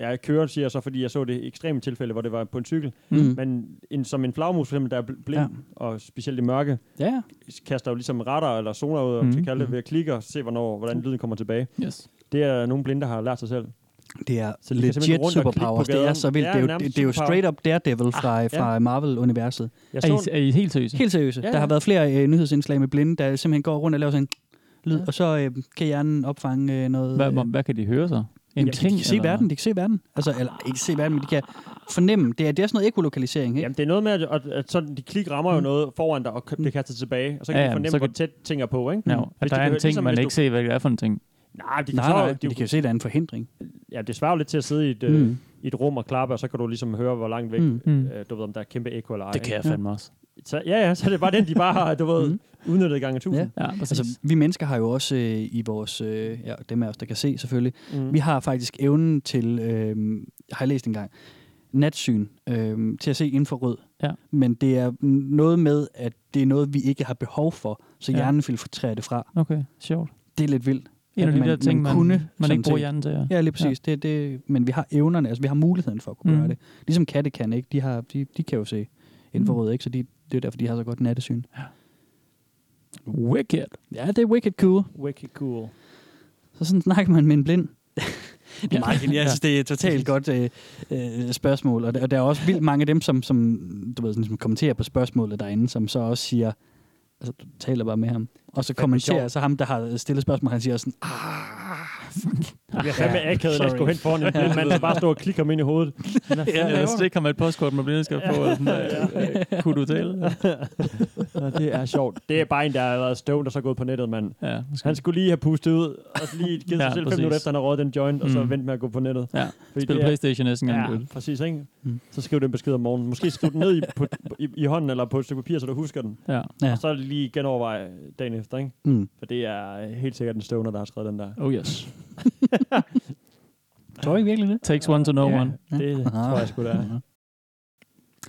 D: Ja, jeg kører, siger jeg så, fordi jeg så det ekstreme tilfælde, hvor det var på en cykel.
C: Mm.
D: Men en, som en flagmus, for eksempel, der er bl- blind,
C: Ja.
D: ja. og specielt i mørke,
C: Ja, ja.
D: kaster jo ligesom retter eller zoner ud, om mm.
E: Mhm.
D: skal kalde det, ved at klikke og se, hvornår, hvordan lyden kommer tilbage.
E: Yes.
D: Det er nogle blinde, der har lært sig selv.
C: Det er
D: Så
C: så
D: de kan simpelthen gå
C: legit
D: rundt og klikke på
C: superpowers. Det er
D: gaden.
C: så vildt.
D: Ja,
C: Det er jo,
D: nærmest
C: det, det er jo
D: superpower.
C: straight up Daredevil fra, ah, fra Marvel-universet.
D: Jeg
E: Er
D: så
E: I, er I helt seriøse?
C: Helt seriøst.
D: Ja,
C: Ja,
D: ja.
C: ja. Der har været flere øh, nyhedsindslag med blinde, der simpelthen går rundt og laver sådan en lyd, ja. og så øh, kan hjernen opfange øh, noget...
E: Hvad,
C: øh,
E: hvad, hvad kan de høre så? En
C: Jamen, de, de kan se verden, de kan se verden. Altså, eller ikke se verden, men de kan fornemme. Det er, det er sådan noget ekolokalisering, ikke?
D: Jamen, det er noget med, at, at, at sådan, de klik rammer jo noget foran dig, og k- bliver kastet tilbage, og så kan
E: Mhm.
D: ja, de
E: Ja, ja, men
D: fornemme,
E: så
D: hvor
E: kan-
D: tæt ting er på, ikke?
E: Ja, at
D: Hvis
E: der
D: de
E: er
D: kan
E: en
D: høre-
E: ting,
D: ligesom
E: man
D: hvis
E: ikke
D: du-
E: se, hvad det er for en ting.
D: Nej, de kan
C: nej,
D: så,
C: nej,
D: de,
C: de kan jo se, der er en forhindring.
D: ja, det svarer jo lidt til at sidde i et, mm.
E: Mhm.
C: Mm.
D: i et rum og klappe, og så kan du ligesom høre, hvor langt væk, mm.
C: Mm.
D: øh, du ved, om der er kæmpe ekko eller ej. ikke?
E: jeg fandme Mhm. også.
D: Så, ja, ja, så er det bare den, de bare har, du ved, udnyttet gange tusind.
E: Ja, præcis.
C: Altså, vi mennesker har jo også øh, i vores, øh, ja, dem af os, der kan se selvfølgelig,
D: Mhm.
C: mm. vi har faktisk evnen til, øh, har jeg læst engang, natsyn, øh, til at se infrarød.
E: Ja.
C: Men det er noget med, at det er noget, vi ikke har behov for, så
E: Ja.
C: hjernen filtrerer det fra.
E: okay, sjovt.
C: Det er lidt vildt.
E: En af
C: at
E: de der ting, man, kunne, man
C: sådan
E: ikke bruger
C: set.
E: hjernen til. Ja.
C: Ja, lige præcis. Ja. Det, det, men vi har evnerne, altså vi har muligheden for at kunne
E: Mm.
C: mm. gøre det. Ligesom katte kan, ikke? De, har, de, de kan jo se infrarød, ikke? Så de, det er derfor, de har så godt nattesyn.
E: Wicked.
C: Ja, det er wicked cool.
D: Wicked cool.
C: Så sådan snakker man med en blind. det er meget genialt.
E: Ja.
C: Jeg synes, det er et totalt godt øh, øh, spørgsmål. Og der, og der er også vildt mange af dem, som, som, du ved, sådan, som kommenterer på spørgsmålet derinde, som så også siger, altså du taler bare med ham. Og så kommenterer
D: sjovt.
C: så ham, der har stillet spørgsmål, han siger sådan, ah,
D: Jeg er fandme akavet, at gå hen foran en blind mand, så bare stå og klikke ham ind i hovedet.
E: Ja, jeg stikker med et postkort, man bliver skal på. og Sådan, øh, øh, kunne du tale?
D: Ja, det er sjovt. Det er bare en, der har været stoned og så gået på nettet, mand.
E: Ja, måske.
D: Han skulle lige have pustet ud, og så lige givet sig
E: Ja,
D: selv fem
E: præcis.
D: minutter efter, han har røget den joint, og så
E: Mm.
D: ventet med at gå på nettet.
E: Ja,
D: Fordi
E: spille
D: det er-
E: Playstation næsten gang.
D: Ja, præcis, ikke?
C: Mm.
D: Så skriv den besked om morgenen. Måske skriv den ned i, på, i, i hånden eller på et stykke papir, så du husker den.
E: Ja.
C: Ja.
D: Og så lige genovervej dagen efter, ikke?
C: mm.
D: For det er øh, helt sikkert en stoner, der har skrevet den der.
E: Oh yes.
C: tror I virkelig det?
E: Takes one to know
D: Ja,
E: one.
D: Det
C: Ah.
D: tror jeg sgu, det er.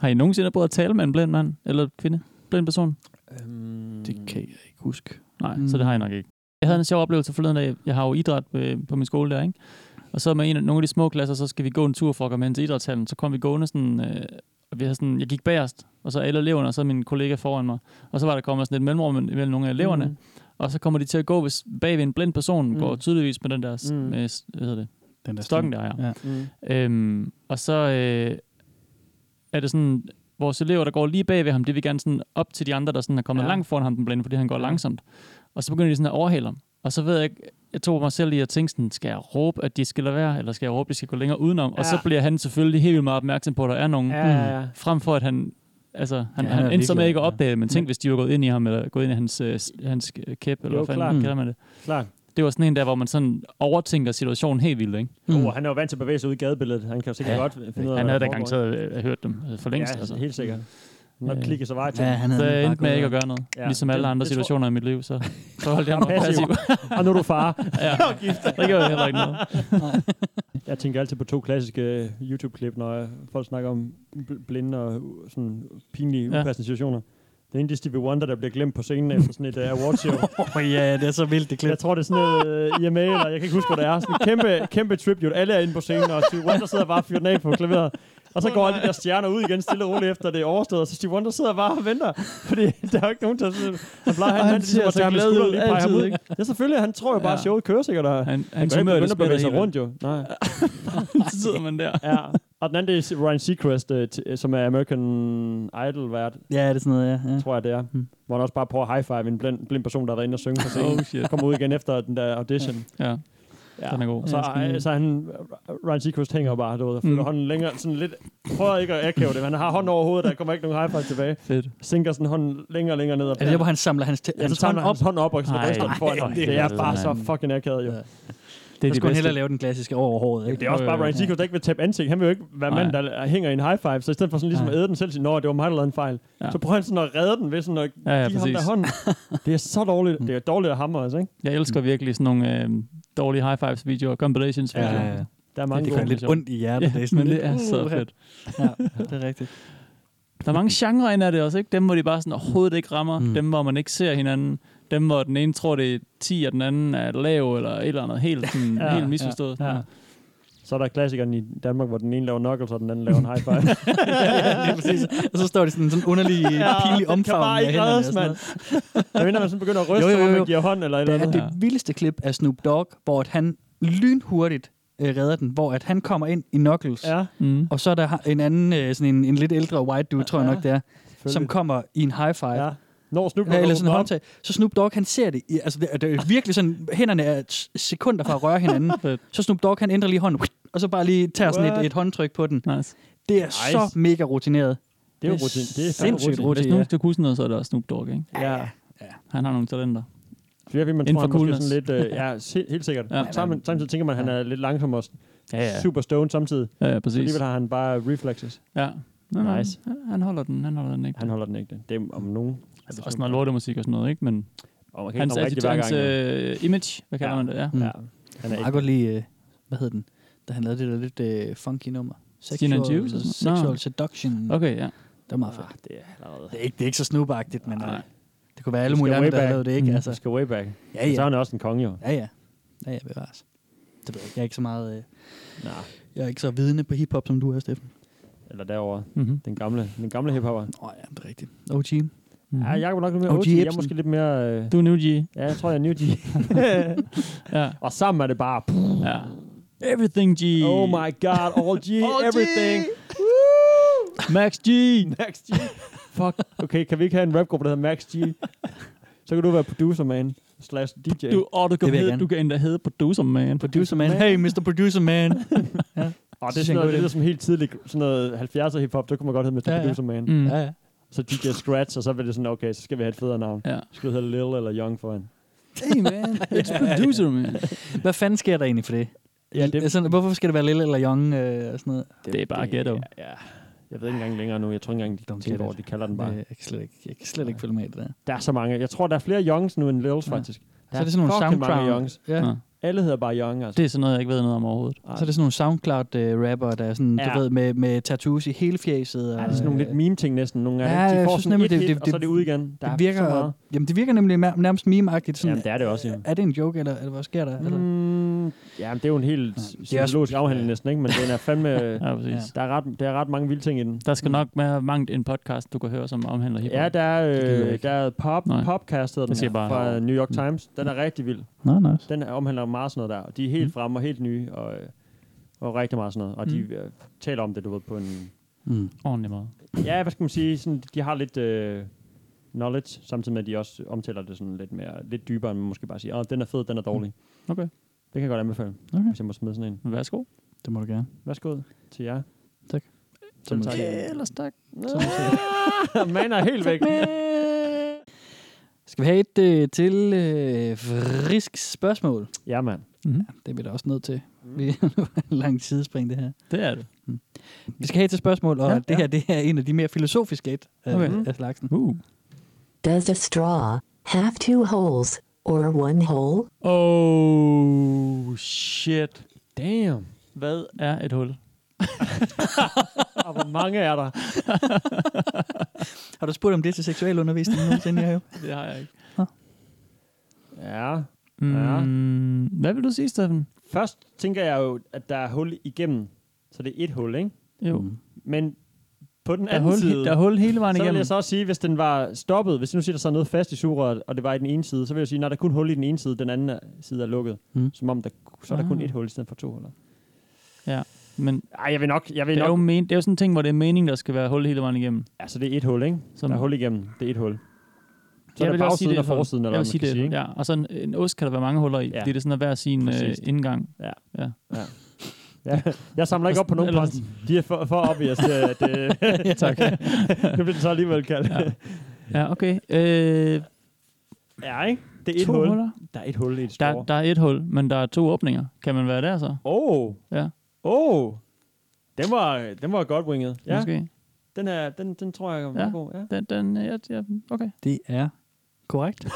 E: Har I nogensinde prøvet at tale med en blind mand? Eller kvinde? Blind person?
D: Øhm,
C: Det kan jeg ikke huske.
E: Nej, mm.
C: Mm.
E: så det har jeg nok ikke. Jeg havde en sjov oplevelse forleden dag. Jeg har jo idræt øh, på min skole der, ikke? Og så med en af, nogle af de små klasser, så skal vi gå en tur for at komme hen til idrætshallen. Så kom vi gående sådan, øh, og vi havde sådan, jeg gik bagerst, og så alle eleverne, og så min kollega foran mig. Og så var der kommet sådan et mellemrum mellem nogle af eleverne. Mm. Og så kommer de til at gå hvis bag ved en blind person,
D: Mm.
E: mm. går tydeligvis med den der,
D: Mm.
E: mm. med, s- hvad hedder det,
C: Den der
E: stokken der, ja.
C: Ja.
D: Mm.
E: Øhm, og så øh, er det sådan, vores elever, der går lige bag ved ham, det vil gerne sådan op til de andre, der sådan er kommet ja. langt foran ham, den blinde, fordi han går ja. langsomt. Og så begynder de sådan at overhale ham. Og så ved jeg ikke, jeg tog mig selv i at tænke sådan, skal jeg råbe, at de skal lade være, eller skal jeg råbe, at de skal gå længere udenom? Ja. Og så
I: Ja.
E: bliver han selvfølgelig helt vildt meget opmærksom på, at der er nogen.
I: Ja, ja, ja.
E: Frem for, at han, altså, han,
I: Ja, han
E: ja, han,
I: er
E: han endte så med
I: ligeglad,
E: ikke at
I: ja.
E: opdage det, men tænk, hvis de var gået ind i ham, eller gået ind i hans, øh, s- hans øh, kæp, eller
D: Jo,
E: hvad
D: klart.
E: fanden kalder man det.
D: Klart.
E: Det var sådan en der, hvor man sådan overtænker situationen helt vildt, ikke?
D: Mm. Oh, han er jo vant til at bevæge sig ud i gadebilledet. Han kan jo sikkert
E: Ja.
D: godt finde ud af, hvad
E: Han havde
D: der
E: da garanteret øh, hørt dem øh, for længst.
D: Ja, altså, helt sikkert. Altså, Nok klikket så vej til.
E: Ja, han havde så
D: bare
E: jeg endte med
D: gået
E: ikke at
D: og-
E: gøre noget.
D: Ja,
E: Ja, ligesom alle
D: det-
E: andre
D: det tror-
E: situationer i mit liv, så, så holdt jeg
D: Og
E: mig passiv.
D: passiv. Og nu er du far.
E: ja,
D: Og gift.
E: det gjorde jeg heller ikke noget.
D: Jeg tænker altid på to klassiske øh, YouTube-klip, når øh, folk snakker om bl- blinde og u- sådan pinlige,
E: Ja.
D: upassende situationer. Det ene det er Stevie Wonder, der bliver glemt på scenen efter sådan et uh, awardshow.
C: oh, ja, det er så vildt, det klip.
D: Jeg tror, det er sådan noget uh, IMA, eller jeg kan ikke huske, hvad det er. Sådan en kæmpe, kæmpe tribute. Alle er inde på scenen, og Stevie Wonder sidder bare og fyrer den af på klaveret. Og så går alle de der stjerner ud igen stille og roligt efter det er overstået, og så Stevie Wonder sidder bare og venter, fordi der er jo ikke nogen, der sådan... Han plejer at have en mand,
E: Og han
D: der ligesom
E: ser
D: at
E: så
D: tage ham i
E: glad ud
D: skulderen og lige pege ham
E: altid,
D: ud.
E: ikke?
D: Ja, selvfølgelig. Han tror jo bare, at
E: Ja.
D: showet kører sikkert, og
E: Han,
D: han
E: han
D: kan jo ikke
E: humør,
D: begynde
E: det
D: at bevæge sig
E: smitter
D: rundt jo. Nej.
E: helt. Så sidder man der.
D: Ja, og den anden det er Ryan Seacrest, øh, t- øh, som er American Idol vært,
C: Ja, det er sådan noget, ja. ja.
D: tror jeg det er.
C: Mm.
D: Hvor han også bare prøver at high-five en blind, blind person, der er derinde og synge på scenen.
E: Oh shit.
D: Kommer ud igen efter den der audition.
E: Ja,
D: Ja.
E: den er god.
D: Og så,
E: Ja, den er
D: øh,
E: god.
D: så er han, Ryan Seacrest hænger jo bare, du ved, og flytter
E: Mm.
D: hånden længere, sådan lidt, prøver ikke at akave det, men han har hånden over hovedet, der kommer ikke nogen high-five tilbage.
E: Fedt.
D: Sænker sådan hånden længere og længere ned. Og
E: Altså,
C: Er det der, hvor han samler hans... Tæ-
D: ja,
C: altså,
D: så
C: tager
D: tager
C: han
D: hans
C: op.
D: hånd op og så
E: Ej,
D: ryster den foran
E: ej,
D: ham.
E: det er
D: Det er
E: altså-
D: bare så fucking akavet jo.
C: Ja.
E: Det
C: Så
E: er de
C: skulle han hellere
E: bedste.
C: lave den klassiske over håret, ikke?
D: Det er også
E: Jo, jo,
D: bare Ryan
E: jo.
D: Seacrest, der ikke vil tabe ansigt. Han vil jo ikke være mand,
E: Øh, Nej.
D: der hænger i en high five. Så i stedet for sådan ligesom at æde den selv, sige, nå, det var mig, der lavede en fejl.
E: Ja.
D: Så prøver han sådan at redde den ved sådan at
E: Ja, ja,
D: give ham der
E: præcis. Mm.
D: hånden. Det er så dårligt. Det er dårligt af ham altså, ikke?
E: Jeg elsker virkelig sådan nogle øh, dårlige high fives videoer, compilations videoer.
C: Ja, ja, ja.
D: Der er mange
C: Det
D: det,
C: gør
D: gode.
C: lidt
E: sjovt.
C: ondt i hjertet. det er sådan
E: men
C: lidt,
E: det er så
C: uh,
E: fedt.
C: Ja, det er rigtigt.
E: Der er mange genrer ind af det også, ikke? Dem, hvor de bare sådan overhovedet ikke rammer.
C: Mm.
E: Mm. Dem, hvor man ikke ser hinanden. Dem, hvor den ene tror, det er 10, og den anden er lav, eller et eller andet helt, sådan,
D: Ja,
E: ja, helt misforstået.
D: Ja. Så er der klassikeren i Danmark, hvor den ene laver knuckles, og den anden laver en high five.
C: ja, lige præcis. Og så står det sådan, sådan underlig, ja, pinlig
D: den kan
C: omfavn
D: bare ikke reddes, mand. Jeg mener, man sådan begynder at ryste,
C: Jo, jo,
D: hvor
C: jo.
D: man giver hånd eller et eller
C: Der er
D: andet.
C: det vildeste klip af Snoop Dogg, hvor at han lynhurtigt øh, redder den, hvor at han kommer ind i Knuckles, ja.
D: Ja,
E: Mm.
C: og så er der ha- en anden, øh, sådan en, en lidt ældre white dude, tror jeg nok det er, som
D: selvfølgelig.
C: kommer i en high five.
D: Ja.
C: Ja.
D: Når Snoop Dogg
C: Eller sådan en
D: åbner op,
C: håndtag. Så Snoop Dogg, han ser det. i- Altså, det, er- det er virkelig sådan, hænderne er s- sekunder fra at røre hinanden.
E: Fedt.
C: så Snoop Dogg, han ændrer lige hånden, og så bare lige tager sådan
D: What?
C: et, et håndtryk på den.
E: Nice.
C: Det er
D: Nice.
C: så mega rutineret.
D: det er jo rutin. Det er fandme
C: sindssygt
D: rutin.
E: Hvis
C: rutineret.
E: nogen skal kunne sådan noget, så er det også Snoop Dogg, ikke?
D: Ja.
E: Han har nogle talenter.
D: Det er, fordi man
E: Inden
D: tror, han
E: for
D: måske sådan lidt... Øh, ja, si- helt sikkert.
E: Ja.
D: Ja. Samtidig, samtidig tænker man, at han er lidt langsom og
E: Ja, ja.
D: super stoned samtidig.
E: Ja, ja
D: Så
E: præcis.
D: alligevel har han bare reflexes.
E: Ja. Nå, nå,
D: Nice.
E: han- Han holder den, han holder den ikke.
D: Han holder den ikke. Det er om nogen.
E: altså, også noget lortemusik og sådan noget, ikke? Men
D: Og man kan
E: hans,
D: ikke nå rigtig
E: attitude,
D: hver
E: hans
D: gang. jo.
E: øh, image, hvad kalder
D: Ja.
E: man det? Ja.
C: mm.
D: Ja. Han
C: Jeg
D: er
C: kan
D: ikke.
C: meget godt lide, øh, hvad hed den, da han lavede det der lidt øh, funky nummer.
E: Skin and Juice og sådan noget?
C: Sexual
E: Nå.
D: Mm.
C: Seduction. Okay.
E: Okay, ja.
C: Det var meget fedt.
D: Ah, Det er allerede.
C: Det er ikke, det er ikke så snoobagtigt, men øh,
E: Nej.
C: det kunne være alle
D: Vi skal
C: mulige
D: way
C: andre, der
D: back.
C: havde lavet det, ikke?
E: Mm.
C: Altså,
D: Han skal way back.
C: ja,
D: Så
C: ja.
D: er han også en konge, jo.
C: Ja, ja. Ja, ja, bevares. Det ved jeg ikke. Jeg er ikke så meget... Øh,
D: Nej.
C: jeg er ikke så vidende på hiphop, som du er, Steffen.
D: Eller derovre.
E: Mm-hmm.
D: Den gamle, den gamle hiphopper.
C: Nå ja, det er rigtigt. OG.
E: Mm-hmm.
D: Ja, jeg er nok lidt mere
C: OG
D: OG. Jeg er
C: Ebsen.
D: måske lidt mere... Øh,
E: Du er New G.
D: ja, jeg tror, jeg er New G.
E: Ja.
D: og sammen er det bare... Pff,
E: ja. Everything G.
D: oh my god, all G,
C: All G!
D: everything.
E: Max G.
D: Max G. Fuck. Okay, kan vi ikke have en rapgruppe, der hedder Max G? Så kan du være producer, man. Slash DJ.
E: Du, oh, du, kan
C: Det vil jeg
E: hedde,
C: gerne.
E: du kan endda hedde Producer Man.
C: Producer man. Hey, Mr. Producer man.
D: Og det er
C: Synes jeg
D: sådan
C: er en god
D: noget, det
C: idé.
D: lyder som helt tidligt, sådan noget 70'er hiphop, der kunne man godt hedde Mr.
C: Ja, ja.
D: Producer Man.
E: Mm.
C: ja, ja.
D: Så DJ Scratch, og så bliver det sådan, okay, så skal vi have et federe navn.
E: Ja.
D: Så skal vi hedde Lil eller Young foran.
E: Hey man, it's Producer Man.
C: Hvad fanden sker der egentlig for det?
D: Ja, det-
C: altså, hvorfor skal det være Lille eller Young øh, og sådan noget?
E: Det er bare ghetto.
D: Ja, ja. Jeg ved ikke engang længere nu, jeg tror ikke engang, de
C: Don't
D: tænker
C: get
D: over,
C: it.
D: de kalder den bare.
C: Øh, Jeg kan slet ikke, jeg kan slet ikke følge med i det der.
D: Der er så mange. Jeg tror, der er flere Youngs nu end Lils,
C: Ja.
D: faktisk. Der
C: Så er det sådan nogle
D: fucking mange
C: SoundCloud.
D: Youngs.
C: Ja.
E: Nå.
D: Alle hedder bare Young, altså.
E: Det er sådan noget, jeg ikke ved noget om overhovedet.
C: Så er det sådan nogle SoundCloud-rapper, der er sådan,
D: Ja.
C: du ved, med, med tattoos i hele fjeset. Og, øh,
D: Ja, det er sådan nogle lidt meme-ting næsten, nogle af
C: Ja,
D: dem. De
C: jeg
D: får
C: synes
D: sådan
C: nemlig,
D: et
C: det-
D: hit,
C: det-
D: og så er det ud igen. Der
C: det
D: er
C: virker,
D: så meget.
C: jamen, det virker nemlig nær- nærmest meme-agtigt. Sådan,
D: Jamen, det er det også, jo.
C: er det en joke, eller, eller hvad sker der? Altså,
D: Mm, jamen, det er jo en helt
C: det er også-
D: psykologisk afhandling
C: ja.
D: næsten, ikke? Men den er fandme...
E: Ja, præcis.
C: Ja.
D: Der er, ret, der er ret mange vilde ting i den.
E: Der skal nok være mangt en podcast, du kan høre, som omhandler hiphop.
D: Mm. Ja, der er,
C: gider jeg
D: øh,
C: ikke.
D: der er pop,
E: Nej.
D: Popcast hedder
E: Jeg siger
D: den
E: bare-
D: fra New
C: Mm.
D: York Times. Den er rigtig vild.
C: Nå, nice.
D: Den er- omhandler meget sådan noget der. Og de er helt
C: Mm.
D: fremme og helt nye og, øh, og rigtig meget sådan noget. Og de øh, taler om det, du ved, på en
C: Mm.
E: Ordentlig måde.
D: Ja, hvad skal man sige? Sådan, de har lidt øh, knowledge, samtidig med, at de også omtaler det sådan lidt, mere, lidt dybere, end man måske bare siger, åh, den er fed, den er dårlig.
E: Okay.
D: Det kan jeg godt anbefale,
C: Okay.
D: hvis jeg må smide sådan en.
E: Værsgo.
C: Det må du gerne.
D: Værsgo til jer.
C: Tak.
D: Selv tak.
E: Ellers tak.
D: Man er helt væk.
C: Skal vi have et øh, til øh, frisk spørgsmål?
D: Ja, mand.
E: Mm-hmm.
C: Det er vi da også nødt til. Vi lang sidespring, det her.
E: Det er det.
C: Vi skal have et til spørgsmål, og
E: Ja,
C: ja, det
E: ja.
C: her det er en af de mere filosofiske et af,
E: Okay.
C: okay. Mm. af slagsen.
E: Uh.
I: Does a straw have two holes or one hole?
E: Oh, shit.
D: Damn.
E: Hvad er et hul?
D: Og Ah, hvor mange er der?
C: Har du spurgt om det til seksualundervisning nogensinde, jeg
E: Det har jeg ikke.
D: Ja.
E: Mm,
D: Ja.
E: Hvad vil du sige, Steffen?
D: Først tænker jeg jo, at der er hul igennem. Så det er et hul, ikke?
E: Jo.
D: Men på den
E: Der er,
D: anden
E: hul,
D: side,
E: der er hul hele vejen
D: så vil
E: igennem.
D: jeg så også sige, hvis den var stoppet, hvis nu siger, der sad noget fast i sugerøret, og det var i den ene side, så vil jeg sige, at der er kun hul i den ene side, den anden er- side er lukket.
C: Mm.
D: Mm. Som om, der, så er der kun
E: Ah.
D: et hul i stedet for to huller.
E: Men
D: Ej, jeg vil nok, jeg vil
E: det er, jo
D: nok.
E: men, det er jo sådan en ting, hvor det er meningen, der skal være hul hele vejen igennem.
D: Altså, det er et hul, ikke?
E: Som-
D: Som... Der er hul igennem, det er et hul. Så
E: Jeg
D: er det
E: vil også sige,
D: bagsiden
E: det er
D: og
E: et hul.
D: forsiden, eller
E: jeg
D: hvad
E: vil
D: man sige,
E: sige det.
D: kan sige,
E: Ikke?
D: ikke?
E: Ja, og så en, en ost kan der være mange huller i, ja.
D: Ja.
E: fordi det er sådan at hver sin øh,
D: Præcis.
E: indgang.
D: Ja. Jeg samler ikke op på nogen
E: Eller-
D: plads. De er for, for obvious, øh, at det,
E: ja, tak.
D: det bliver den så alligevel kaldt. Ja.
E: ja, okay. Øh,
D: ja, ikke? Det er et
E: to
D: hul.
E: huller?
D: Der er et hul i et
E: Der,
D: strå.
E: der er et hul, men der er to åbninger. Kan man være der så?
D: Åh! Oh.
E: Ja.
D: Åh! Oh. Den var, den var godt winget. Ja, Måske.
E: Måske.
D: den, er, den, den tror jeg var
E: Ja.
D: ja. god. Ja.
E: Den, den, ja, ja, okay.
C: Det er korrekt.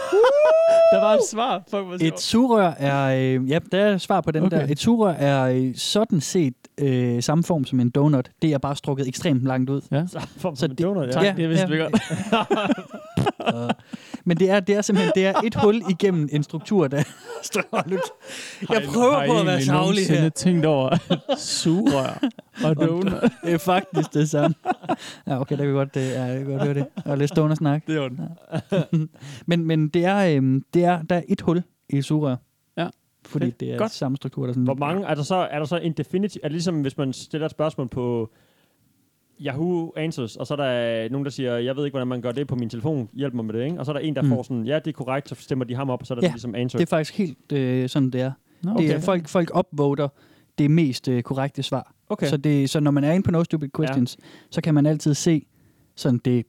E: Der var et svar. Fuck, hvor
C: Et sugerør er... Øh, ja, der er svar på den
E: Okay.
C: okay. der. Et sugerør er øh, sådan set øh, samme form som en donut. Det er bare strukket ekstremt langt ud.
D: Så, for,
C: Så
D: så
C: det-
D: det, donut, ja.
E: Tak,
D: ja.
E: ja, det vidste
C: ja.
E: vi godt.
C: Og, men det er, det er simpelthen det er et hul igennem en struktur, der står lukt. Jeg prøver på at være savlig
E: Har I
C: her.
E: egentlig nogensinde tænkt over sugerør og donut?
C: Det er faktisk det samme. Ja, okay, der kan godt, øh, ja, jeg kan godt høre det. Og lidt stående snak.
E: Det er ondt.
C: Men, men det er, øh, det er, der er et hul i et sugerør.
E: Ja.
C: Fordi
E: Fedt.
C: det er
E: Godt.
C: godt. samme struktur. Der sådan,
D: Hvor mange? Er der så, er der så en definitive... Er det ligesom, hvis man stiller et spørgsmål på Yahoo Answers, og så er der nogen, der siger, jeg ved ikke, hvordan man gør det på min telefon, hjælp mig med det, ikke? Og så er der en, der
C: Mm.
D: mm. får sådan, ja, det er korrekt, så stemmer de ham op, og så er der
C: Ja,
D: ja, ligesom answer.
C: Det er faktisk helt øh, sådan, det er.
E: Nå,
C: Okay. Det er folk, folk opvoter det mest øh, korrekte svar.
D: Okay.
C: Så, det, så når man er inde på No Stupid Questions, ja. så kan man altid se sådan det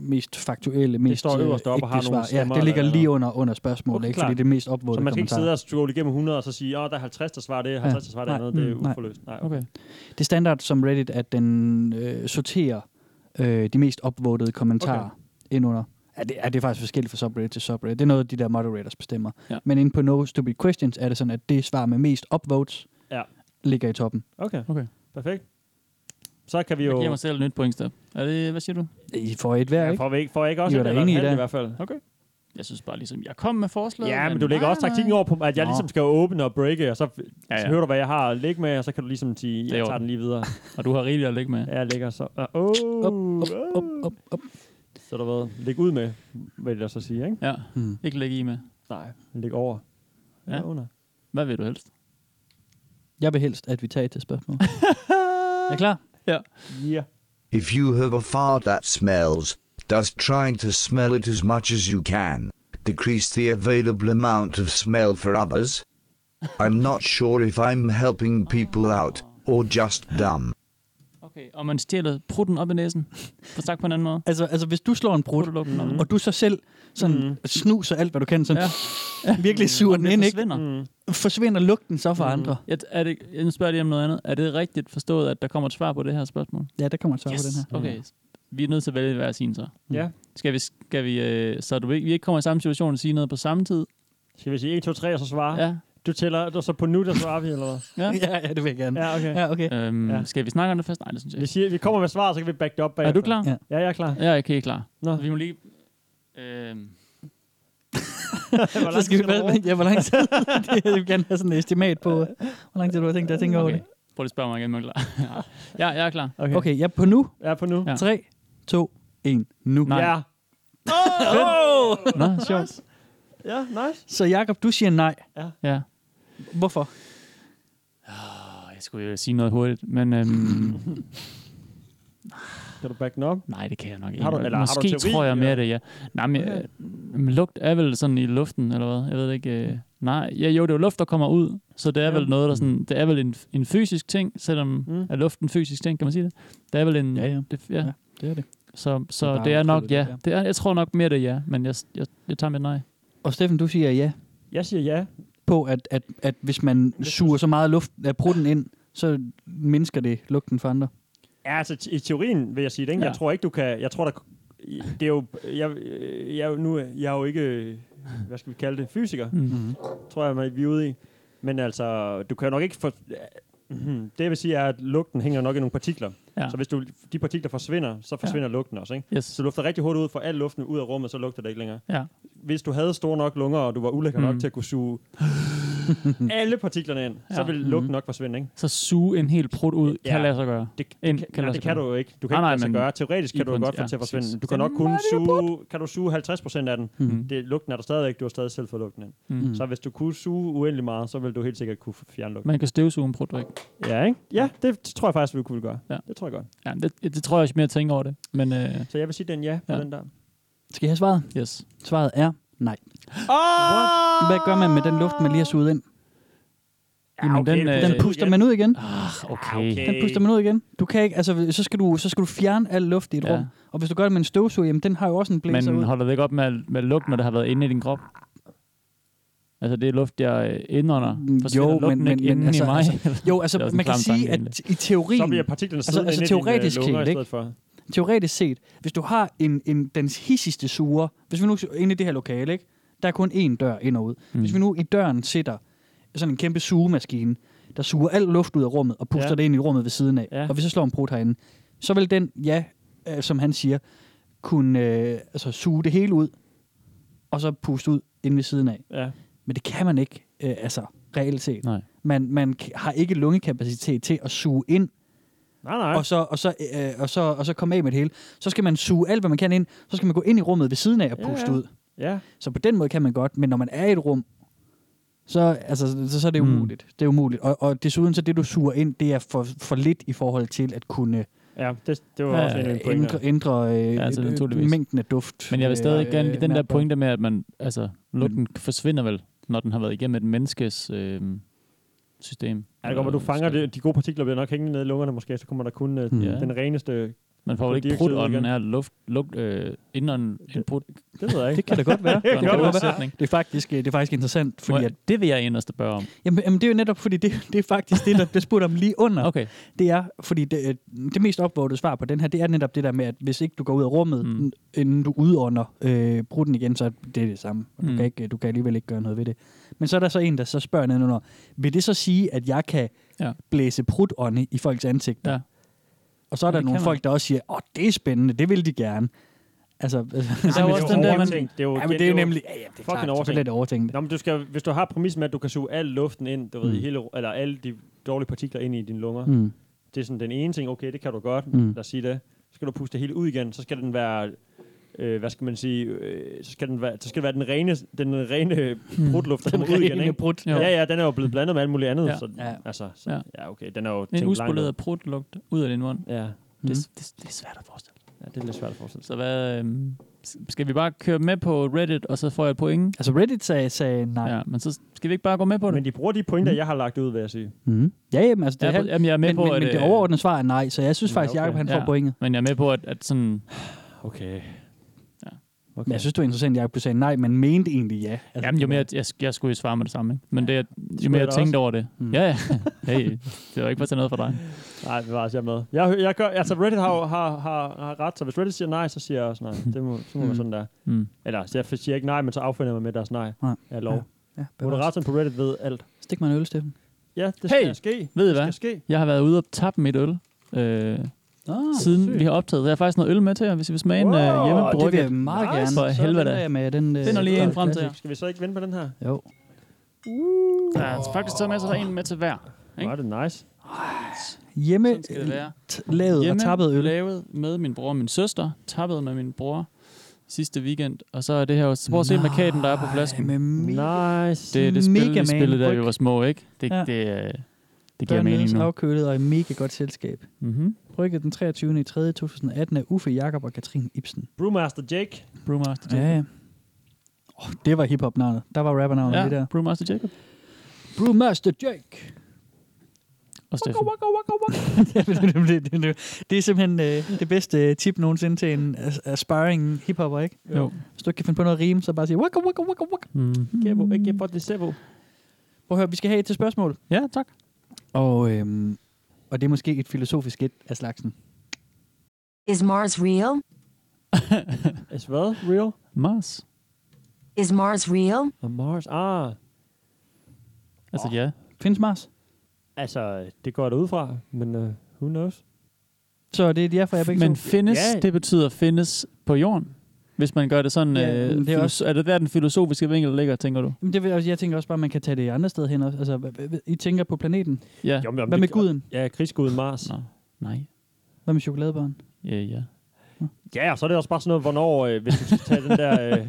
C: mest faktuelle, mest
D: står
C: øh,
D: øverst op
C: ægte
D: og har nogle
C: svar.
D: stemmer
C: ja, det ligger
D: eller-
C: lige under, under spørgsmålet,
D: Okay,
C: okay, ikke?
D: klart.
C: fordi det er mest opvåget
D: Så man skal ikke sidde
C: kommentarer.
D: og scrolle igennem 100, og så sige, åh, der er 50, der svarer det, 50, der svarer det
C: Nej.
D: andet. Det er
C: Mm, nej.
D: uforløst. Nej, okay.
E: Okay.
C: Det er standard som Reddit, at den øh, sorterer øh, de mest opvågede kommentarer okay. ind under. Ja, det, ja, det er faktisk forskelligt fra subreddit til subreddit. Det er noget, de der moderators bestemmer.
E: Ja.
C: Men inde på No Stupid Questions er det sådan, at det svar med mest upvotes
D: Ja.
C: ligger i toppen.
D: Okay.
E: Okay.
D: Perfekt. Så kan vi
E: Jeg
D: jo...
E: giver mig selv et nyt point, Steph. Er det, hvad siger du?
C: I får et hver,
D: Ja,
C: ikke?
D: får, vi ikke, får jeg ikke
C: I
D: også et
C: var da
D: eller en
C: enige i
D: halv
C: det.
D: i hvert fald?
E: Jeg synes bare ligesom, jeg kom med forslaget.
D: Ja, men du lægger også taktikken over på, at jeg
C: Nå.
D: ligesom skal åbne og breake, og så, ja,
E: ja.
D: ja. så hører du, hvad jeg har at ligge med, og så kan du ligesom sige,
E: er i
D: jeg tager
E: orden.
D: den lige videre.
E: Og du har rigeligt at lægge med.
D: Ja, jeg ligger så. Åh, oh,
C: Op, op, op, op.
D: Så der hvad? Læg ud med, vil jeg så sige, ikke?
E: Ja.
C: Hmm.
E: Ikke lægge i med.
D: Nej, læg over.
E: Ja.
D: Ja. under.
E: Hvad vil du helst?
C: Jeg vil helst, at vi tager et til spørgsmål. er I klar?
D: Ja.
J: If you have a fart that smells, does trying to smell it as much as you can decrease the available amount of smell for others? I'm not sure if I'm helping people out or just dumb.
E: Okay, og man stjæler prutten op i næsen. For sagt på en anden måde.
C: Altså, altså hvis du slår en brud,
E: Pruttelugten op.
C: og du så selv sådan mm. snuser alt, hvad du kan, sådan ja. virkelig suger
E: Om
C: den
E: det
C: ind, ikke? Hmm.
E: forsvinder.
C: forsvinder lugten så for mm. andre?
E: Jeg, er det, jeg nu spørger jeg lige om noget andet. Er det rigtigt forstået, at der kommer et svar på det her spørgsmål?
C: Ja, der kommer et svar yes. på den her. Hmm.
E: Okay, vi er nødt til at vælge hver sin så.
D: ja.
E: Skal vi, skal vi øh, så du ikke, vi ikke kommer i samme situation og sige noget på samme tid?
D: Skal vi sige 1, 2, 3, og så
C: Ah.
D: svare? Ja.
E: Ja.
D: Du tæller, og så på nu, der svarer vi, eller hvad?
E: ja.
C: Ja, ja, det vil jeg gerne.
D: Ja, okay.
C: Ja, okay.
E: Øhm, ja.
D: Ja.
E: Skal vi snakke om det først? Nej, det synes jeg
D: Vi,
E: ikke.
D: siger, vi kommer med svar, så kan vi back det op
E: Er
D: bagefter.
E: du klar?
C: Ja.
D: Ja, jeg er klar.
E: Ja, okay, klar.
D: Nå.
E: Vi må lige... Øhm,
D: Hvor
C: Så
D: lang
C: skal vi
D: tid du bruge?
C: bare, ja, hvor lang tid? det, jeg vil gerne have sådan et estimat på, hvor lang tid du har tænkt dig at tænke over
E: okay.
C: det.
E: Prøv lige at spørge mig igen, om jeg er klar. ja, jeg er klar.
D: Okay. okay.
C: Okay, ja, på nu.
D: Ja, på nu.
E: Ja.
D: Ja.
C: 3, 2, 1, nu.
E: Nej.
D: ja.
E: Nå, sjovt.
D: Ja, nice.
C: Så Jakob, du siger nej.
E: Ja.
C: Hvorfor?
E: Åh, Jeg skulle jo sige noget hurtigt, men... Øhm,
D: Det Kan du back den op?
E: Nej, det kan jeg
D: Har
E: nok
D: du,
E: Egentlig,
D: eller
E: Måske
D: har du teori,
E: tror jeg mere
D: eller?
E: det, ja. Nej, men,
D: Ja.
E: øh, men lugt er vel sådan i luften, eller hvad? Jeg ved det ikke. Øh, nej, ja, jo, det er jo luft, der kommer ud, så det er vel noget, der sådan, det er vel en, en fysisk ting, selvom mm. er luften en fysisk ting, kan man sige det? Det er vel en... Ja, ja. Det, ja. ja
C: det er det.
E: Så,
C: Det
E: så
C: er
E: det er,
C: bare at
E: nok,
C: tro det,
E: ja.
C: ja.
E: Det er, jeg tror nok mere, det er ja, men jeg, jeg, jeg tager med nej.
C: Og Steffen, du siger ja.
D: Jeg siger ja.
C: På, at, at, at hvis man suger så meget luft af prutten ind, så mindsker det lugten for andre.
D: Ja, altså t- i teorien vil jeg sige det. Ikke?
C: Ja.
D: Jeg tror ikke, du kan... Jeg tror, der... Det er jo... Jeg, jeg, er jo nu, jeg er jo ikke... Hvad skal vi kalde det? Fysiker.
E: Mhm.
D: Tror jeg, man- vi er ude i. Men altså, du kan nok ikke... For, Mhm. det jeg vil sige er, at lugten hænger nok i nogle partikler.
E: Ja.
D: Så hvis du, de partikler forsvinder, så forsvinder ja. lugten også. Ikke?
E: Yes.
D: Så du lufter rigtig hurtigt ud for al luften ud af rummet, så lugter det ikke længere.
E: Ja.
D: Hvis du havde store nok lunger, og du var ulækker mm.
E: Mm.
D: nok til at kunne suge alle partiklerne ind, ja. så
E: Ja.
D: ville lugten
E: Mhm.
D: nok forsvinde. Ikke?
E: Så suge en helt prut ud, ja. kan lade sig gøre.
D: Det, kan,
E: en,
D: nej,
E: lade
D: det
E: sig
D: kan
E: gøre.
D: du jo ikke. Du kan ikke lade sig
E: men
D: gøre. Teoretisk
E: i
D: kan du jo
E: princi-
D: godt få
E: ja,
D: til at forsvinde.
E: præcis.
D: Du kan nok kun suge, kan du suge 50% af den.
C: Mm. Hmm.
E: Mhm.
D: Det, lugten er der stadigvæk. Du har stadig selv fået lugten ind.
E: Mhm.
D: Så hvis du kunne suge uendelig meget, så ville du helt sikkert kunne fjerne lugten.
E: Man kan støvsuge en prut, ikke?
D: Ja, ikke? Ja, det tror jeg faktisk, vi kunne gøre.
E: Ja.
D: Det tror jeg godt.
E: Ja, det, det tror jeg også mere at tænke over det. Men, øh,
D: Så jeg vil sige den ja på
E: Ja.
D: den der.
C: Skal jeg have svaret?
E: Yes.
C: Svaret er nej.
D: Oh!
C: Hvad gør man med den luft, man lige har suget ind?
E: Jamen, okay, den, den puster øh,
C: den
E: ud
C: puster
E: igen.
C: man ud igen.
E: Ah, okay.
C: Den puster man ud igen. Du kan ikke, altså, så skal du, så skal du fjerne al luft i et
E: Ja.
C: ja. rum. Og hvis du gør det med en støvsuger, jamen, den har jo også en blæser
E: Men
C: ud.
E: holder det ikke op med at, med at lugte, når det har været inde i din krop? Altså, det er luft, jeg øh, indånder.
C: Mm,
E: Forsvinder
C: Jo,
E: lugten
C: men, men,
E: ikke
C: men
E: inden
C: altså,
E: i mig?
C: altså, jo,
E: Det er
C: altså
E: også en
C: man kan
E: klam
C: sige,
E: tanke,
C: at
E: egentlig.
C: i teorien...
D: Så bliver partiklerne
C: Altså,
D: siddende inde i dine, øh, lunger i
C: set,
D: stedet for.
C: Teoretisk set, hvis du har en, en dens hissigste suger, hvis vi nu inde i det her lokale, ikke? der er kun én dør ind og ud.
E: Mm.
C: Hvis vi nu i døren sætter sådan en kæmpe sugemaskine, der suger al luft ud af rummet og puster
E: Ja.
C: ja. det ind i rummet ved siden af,
E: Ja.
C: og vi så slår en prut herinde, så vil den, ja, øh, som han siger, kunne øh, altså, suge det hele ud, og så puste ud inde ved siden af.
D: Ja.
C: Men det kan man ikke, øh, altså reelt set.
E: Mm. Nej.
C: Man, man k- har ikke lungekapacitet til at suge ind,
D: Nej, nej.
C: og så, og, så, øh, og, så, og så komme af med det hele. Så skal man suge alt, hvad man kan ind, så skal man gå ind i rummet ved siden af og
D: Ja,
C: puste
D: ja.
C: ud.
D: Ja.
C: Så på den måde kan man godt, men når man er i et rum, så, altså, så, så er det
E: Mm.
C: umuligt. Det er umuligt. Og, og desuden så det, du suger ind, det er for, for lidt i forhold til at kunne
D: Ja, det, det var
C: øh,
D: også en af mine pointer.
C: ændre, ændre øh,
E: Ja, altså,
C: øh,
E: naturligvis.
C: mængden af duft.
E: Men jeg vil stadig
C: øh,
E: gerne lige den der
C: mærkbart.
E: pointe med, at man, altså,
C: Mm.
D: Mm.
E: lugten forsvinder vel, når den har været igennem et menneskes øh, system.
D: Ja, det går, hvor du
E: Øh,
D: fanger
E: skal-
D: det, de gode partikler bliver nok hængende nede i lungerne måske, så kommer der kun øh,
E: Mm.
D: ja. den reneste...
E: Man får vel ikke
D: koldioxid ud
E: prutånden
D: igen.
E: af luft, lugt øh, indånden en prut.
D: Det ved jeg ikke.
C: Det kan da godt være.
D: det kan
E: Det er en
D: godt
E: god
D: være.
E: sætning.
C: Det er faktisk, øh, det er faktisk interessant,
E: Må
C: fordi at,
E: jeg- Det vil jeg egentlig spørge om.
C: jamen, jamen, det er jo netop, fordi det, det er faktisk det, der bliver spurgt om lige under.
E: Okay.
C: Det er, fordi det, øh, det mest opvågede svar på den her, det er netop det der med, at hvis ikke du går ud af rummet,
E: Mm.
C: mm. inden du udånder øh, brutten igen, så er det er det samme. Og Du,
E: Mm.
C: mm. kan ikke, du kan alligevel ikke gøre noget ved det. Men så er der så en, der så spørger nedenunder, vil det så sige, at jeg kan
E: Ja.
C: ja. blæse prutånde i folks ansigter?
E: Ja.
C: Og så er
E: Ja,
C: der
E: det
C: nogle
E: kan man.
C: folk, der også siger, åh, det er spændende, det vil de gerne. Altså,
E: Der er jo også den der, man,
D: overtænkt. Det er jo,
C: ja, men det er jo nemlig, ja, ja, det er
D: fucking
C: klart,
D: overtænkt.
C: selvfølgelig er det overtænkt.
D: Nå, men du skal, hvis du har præmissen med, at du kan suge al luften ind, du ved, i
C: Mm.
D: hele, eller alle de dårlige partikler ind i dine lunger,
C: Mm.
D: det er sådan den ene ting, okay, det kan du godt,
C: Mm.
D: lad os sige det. Så skal du puste det hele ud igen, så skal den være... Øh, hvad skal man sige? Øh, så, skal den være, så skal det være den rene, den rene
C: Mm.
D: brudluft, der kommer ud igen, ikke?
C: brut.
E: Jo.
D: Ja, ja, den er jo blevet blandet med alt muligt andet.
E: Ja.
D: Ja. Så,
C: Ja.
D: Altså, så,
E: Ja.
D: ja. ja, okay, den er jo
E: en
D: tænkt langt. ud.
E: uspoleret prutlugt ud af din mund.
D: Ja.
E: Det,
C: Mm.
E: er- det, det er svært at forestille. sig.
D: ja, det er lidt svært at forestille sig.
E: Så hvad, øhm, s- skal vi bare køre med på Reddit, og så får jeg et point?
C: Altså Reddit sagde, sagde nej. Ja.
E: Ja, men så skal vi ikke bare gå med på det?
D: Men de bruger de pointer, jeg har lagt ud, vil jeg sige.
C: Mm. Ja, jamen, altså, det
E: jeg,
C: er,
E: er, på- jamen, jeg er med
C: men,
E: på,
C: men,
E: at,
C: men det
E: øh,
C: overordnede svar er nej, så jeg synes
D: Ja,
C: faktisk,
D: okay.
C: Jacob han
E: Ja.
C: får pointet.
E: Men jeg er med på, at, at sådan...
D: Okay.
E: Ja.
D: Okay.
C: Mm. Men jeg synes, det var interessant, at Jacob du sagde nej, men mente egentlig ja. Altså,
E: Jamen, jo mere, jeg, jeg skulle jo svare med det samme, ikke? Men det, jeg- jo mere
D: jeg
E: jeg
D: da
E: tænkte over det.
C: Mm.
E: Ja, ja. Hey, det var ikke for at tage noget fra dig.
D: Nej, det var altså jeg er med. Jeg, jeg gør, altså Reddit har, jo- har, har, har ret, så hvis Reddit siger nej, så siger jeg også nej. Det må, så må
C: Mm.
D: være sådan der.
E: Mm.
D: Eller så jeg siger ikke nej, men så affinder jeg mig med deres nej.
C: Nej.
D: Jeg lov. Ja.
C: Ja, bevares.
D: Moderatoren på Reddit ved alt.
C: Stik mig en øl, Steffen.
D: Ja, det
E: Hey!
D: skal ske.
E: Ved I
D: Det skal
E: hvad?
D: ske.
E: Jeg har været ude og tappe mit øl, øh,
C: Oh,
E: siden vi har optaget. Jeg har faktisk noget øl med til jer, hvis I vil smage en
D: Wow,
E: øh,
C: det vil jeg
E: hjemmebrygget.
C: meget
D: Nice.
C: gerne.
E: For
C: Så
E: helvede
C: venter
E: da.
C: jeg Med den, øh,
E: Finder lige en
C: øh,
E: frem til jer.
D: Skal vi så ikke vinde på den her?
C: Jo.
E: Der er altså faktisk taget med, så der er en med til hver. Ikke?
D: Var det nice.
C: Hjemme
E: Sådan skal det være.
C: t- lavet og tappet øl.
E: lavet med min bror og min søster. Tappet med min bror sidste weekend. Og så er det her også... Prøv at se markaden, der er på flasken.
C: Med mi-
D: Nice.
E: Det er det spil, vi
C: Mega Man
E: spillede, da vi
C: Bryg.
E: var små, ikke? Det, ja.
C: Ja.
E: det, øh, det giver
C: dernede,
E: mening nu.
C: afkølet og i mega godt selskab.
E: Mm-hmm.
C: Brygge den 23. i 3. 2018 af Uffe Jakob og Katrine Ibsen.
D: Brewmaster Jake.
E: Brewmaster
C: Ja, ja. Oh, det var hiphop-navnet. Der var rapper-navnet
E: Ja,
C: ja. det der.
E: Brewmaster Jacob.
C: Brewmaster Jake.
E: Og Steffen.
C: det, det, det, det, det er simpelthen øh, det bedste tip nogensinde til en as- aspiring hiphopper, ikke?
E: Jo.
C: Hvis du ikke kan finde på noget rim, så bare sige waka waka waka waka.
E: Mm.
D: Kæbo, ikke på det sebo.
C: Prøv at høre, vi skal have et til spørgsmål.
E: Ja, tak.
C: Og, øhm, og det er måske et filosofisk et af slagsen.
I: Is Mars real?
D: Is hvad? Real?
E: Mars.
I: Is Mars real?
D: Og Mars. Ah,
E: Altså ja.
C: Findes Mars?
D: altså, det går der ud fra, men uh, who knows?
C: Så det er et ja for jer begge
E: Men
C: to.
E: findes,
D: Ja.
E: det betyder findes på jorden. Hvis man gør det sådan,
C: Ja,
E: ja, øh,
C: men det er
E: det er,
C: også-
E: er det der den filosofiske vinkel ligger, tænker du?
C: Jamen, det vil, også- jeg tænker også bare, at man kan tage det andre sted hen. Også. Altså, hvad- hvad- I tænker på planeten.
E: Ja.
D: Jo, men om
C: Hvad
D: det-
C: med guden?
D: Ja, krigsguden Mars.
E: Nå, nej.
C: Hvad med chokoladebaren?
E: Ja, ja.
D: Ja, og så er det også bare sådan noget, hvornår, øh, hvis du skal tage den der, øh,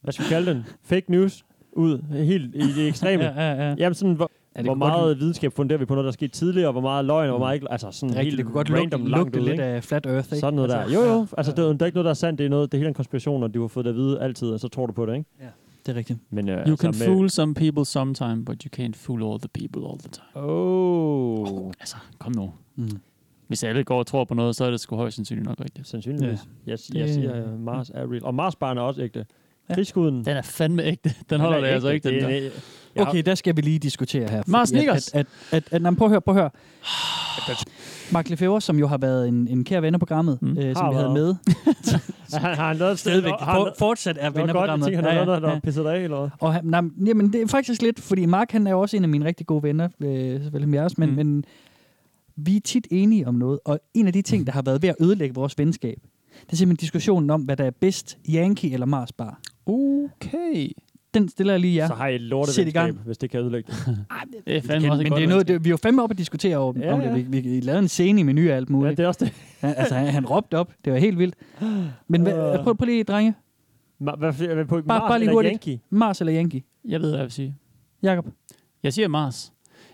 D: hvad skal vi kalde den, fake news ud, øh, helt i det ekstreme. ja.
C: ja, ja.
D: Jamen sådan, hvor,
C: ja
D: hvor meget videnskab funderer vi på noget, der er sket tidligere, og hvor meget løgn, og hvor meget ikke, altså sådan
C: Rigtigt,
D: helt
C: det kunne godt
D: random
C: lugte,
D: langt
C: lugte
D: ud,
C: lidt
D: ikke?
C: af flat earth, ikke?
D: Sådan noget der.
C: altså,
D: Jo,
C: ja,
D: jo, altså det, er jo- der er ikke noget, der er sandt, det er, noget, det er hele en konspiration, og du har fået det at vide altid, og så tror du på det, ikke?
C: Det er rigtigt.
D: Men, øh,
E: You can
D: med-
E: fool some people sometime, but you can't fool all the people all the time.
D: Åh, oh.
E: Altså, kom nu.
C: Mm.
E: Hvis alle går og tror på noget, så er det sgu højst sandsynligt nok rigtigt.
D: sandsynligvis. Ja. Jeg, jeg
C: Det-
D: siger, øh, Mars er real. Og Marsbarn er også ægte.
C: Ja.
D: Krigsguden.
E: Den er fandme ægte. Den holder det altså ikke, den der.
D: Ja.
C: Okay, der skal vi lige diskutere her.
E: Mars
C: fordi
E: Snickers!
C: At, at, at, at, at, prøv at høre, prøv at høre. Mark Lefebvre, som jo har været en, en kær ven af programmet,
E: Mm.
C: mm. øh,
D: Har
C: som vi havde
D: været.
C: med.
D: Han har lavet
C: Stadigvæk. For, fortsat er
D: Det
C: ven
D: var
C: af
D: godt, jeg
C: programmet.
D: tænkte, han har noget, der var pisset af, eller hvad?
C: Og han, nej, men- jamen, det er faktisk lidt, fordi Mark han er jo også en af mine rigtig gode venner, øh, såvel som jeres, men, mm.
E: Mm.
C: men vi er tit enige om noget, og en af de ting, der har været ved at ødelægge vores venskab, det er simpelthen diskussionen om, hvad der er bedst, Yankee eller Mars Bar.
E: Okay.
C: Den stiller jeg lige jer.
D: Så har I et lortet
C: Sæt i gang.
D: venskab, hvis det kan ødelægge det.
E: Det er
C: Men,
E: fandme også
C: men
E: et godt
C: det er
E: noget,
C: noget, det, vi er jo fandme oppe at diskutere over,
D: Ja,
C: ja, om
D: ja.
C: det. Vi, vi, vi lavede en scene i menu og alt
D: Ja,
C: muligt.
D: det er også det.
C: Ja, altså, han, han råbte op. Det var helt vildt. Men hvad,
D: Øh.
C: prøv, prøv lige, drenge.
D: Ma- Hvad, hvad, hvad, på
C: Bare-
D: Mars
C: bare lige
D: eller
C: hurtigt.
D: Yankee?
C: Mars eller Yankee?
E: Jeg ved, hvad jeg vil sige.
C: Jakob?
E: Jeg siger Mars.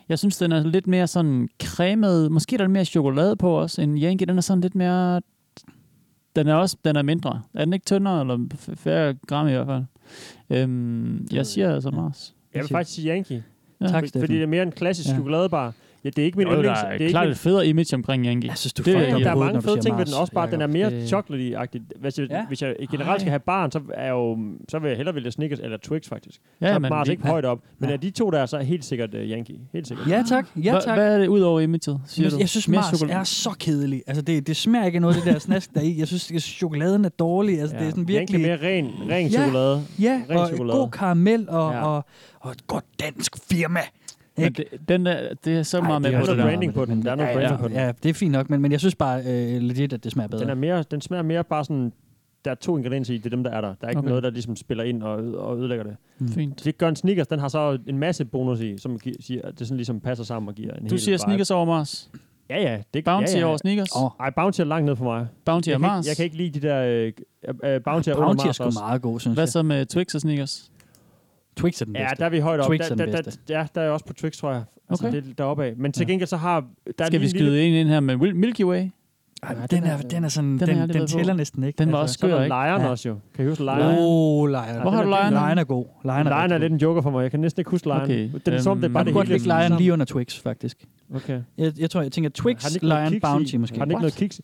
E: Jeg synes, den er lidt mere sådan cremet. Måske er der er lidt mere chokolade på os end Yankee. Den er sådan lidt mere... Den er også den er mindre. Er den ikke tyndere, eller f- færre gram i hvert fald? Øhm, jeg siger altså Mars.
D: Jeg vil faktisk sige Yankee.
E: Ja.
C: Tak,
D: Fordi,
C: Steffen.
D: fordi det er mere en klassisk
C: Ja.
D: chokoladebar. Ja, det er ikke min
E: Jo, der
D: yndlings.
E: er,
D: det er ikke Altså,
E: klart
D: min-
E: et federe image omkring Yankee.
C: Jeg synes, du
E: Det-
C: fucker
E: der er
C: op i
D: der er
C: hovedet, når
D: mange
C: du siger
D: fede ting ved
C: Mars,
D: den også, bare den er
C: Jakob.
D: mere
C: Det-
D: chocolatey-agtig. Hvis, jeg-
C: Ja.
D: hvis jeg generelt skal have barn, så, er jeg jo, så vil jeg hellere vælge Snickers eller Twix faktisk.
E: Ja,
D: så er
E: men
D: Mars
E: vi-
D: ikke højt op. Men
C: Ja.
D: af de to der, er så helt sikkert uh, Yankee. Helt sikkert.
C: Ja tak, ja
E: Hva-
C: tak.
E: Hvad er det ud over imaget, siger du?
C: jeg synes,
E: Mere
C: Mars
E: chokolade?
C: er så kedelig. Altså, det, det smager ikke af noget, det der snask der er i. Jeg synes, at chokoladen er dårlig. Altså, ja. det er sådan virkelig...
D: Yankee mere ren, ren
C: Ja.
D: chokolade.
C: Ja,
D: ren
C: og
D: chokolade.
C: god karamel og,
D: Ja.
C: ja. og, og et godt dansk firma.
E: Men
C: Ikke?
E: det, den der, det er så
C: Ej,
E: meget
C: det er
E: med på
D: Der er
E: det
D: noget
E: der.
D: branding på den. Der er noget
C: Ja,
D: branding på den.
C: ja, ja, det er fint nok, men, men jeg synes bare øh, legit, at det smager bedre.
D: Den, er mere, den smager mere bare sådan, der er to ingredienser i, det er dem, der er der. Der er ikke
E: Okay.
D: okay. noget, der ligesom spiller ind og, ø- og ødelægger det.
E: Fint.
D: Det gør en Snickers, den har så en masse bonus i, som gi- siger, at det sådan ligesom passer sammen og giver en
E: Du
D: hel
E: siger
D: vibe.
E: sneakers over Mars.
D: Ja, ja. Det,
E: Bounty
D: ja, ja.
E: over sneakers.
C: Åh,
D: Ej, Bounty er langt ned for mig.
E: Bounty
D: jeg,
E: er
D: kan ikke,
E: Mars.
D: jeg kan ikke lide de der... Øh, øh, øh, Bounty er under
C: Bounty er
D: Mars
C: sgu
D: også.
C: meget god, synes
E: Hvad
C: jeg.
E: så med Twix og sneakers?
C: Twix er den
D: Ja,
C: bedste.
D: der er vi højt op.
C: Twix
D: der,
C: er den
D: der, der,
C: bedste.
D: ja, der er jeg også på Twix, tror jeg. Altså,
E: Okay.
D: okay. det, deroppe af. Men til
C: Ja.
D: gengæld så har... Der er
E: Skal
D: lige
E: vi
D: en lille-
E: skyde en ind her med Wil- Milky Way?
C: Ej, men den, er, den er sådan,
E: har
C: den, den,
E: jeg aldrig
C: den
E: været på.
C: tæller næsten ikke.
E: Den var også
D: Så er
E: skør,
D: der
E: ikke?
D: Lion
C: Ja.
D: også jo. Kan I huske Lion?
C: Åh, Lion.
E: Hvor har du Lion?
C: Lion er god. Lion er,
D: Lion er
C: rigtig
D: lidt
C: god.
D: en joker for mig. Jeg kan næsten ikke huske Lion.
E: Okay.
D: Det er som, det er
E: Øhm,
D: bare
C: Jeg
D: det
C: kunne godt
D: hele
C: lægge
D: sammen.
C: Lion lige under Twix, faktisk.
D: Okay.
C: Jeg, jeg tror, jeg tænker
D: Har den
C: Twix,
D: ikke noget
C: Lion,
D: kiks i?
C: Bounty måske.
D: Har den ikke noget kiks? i?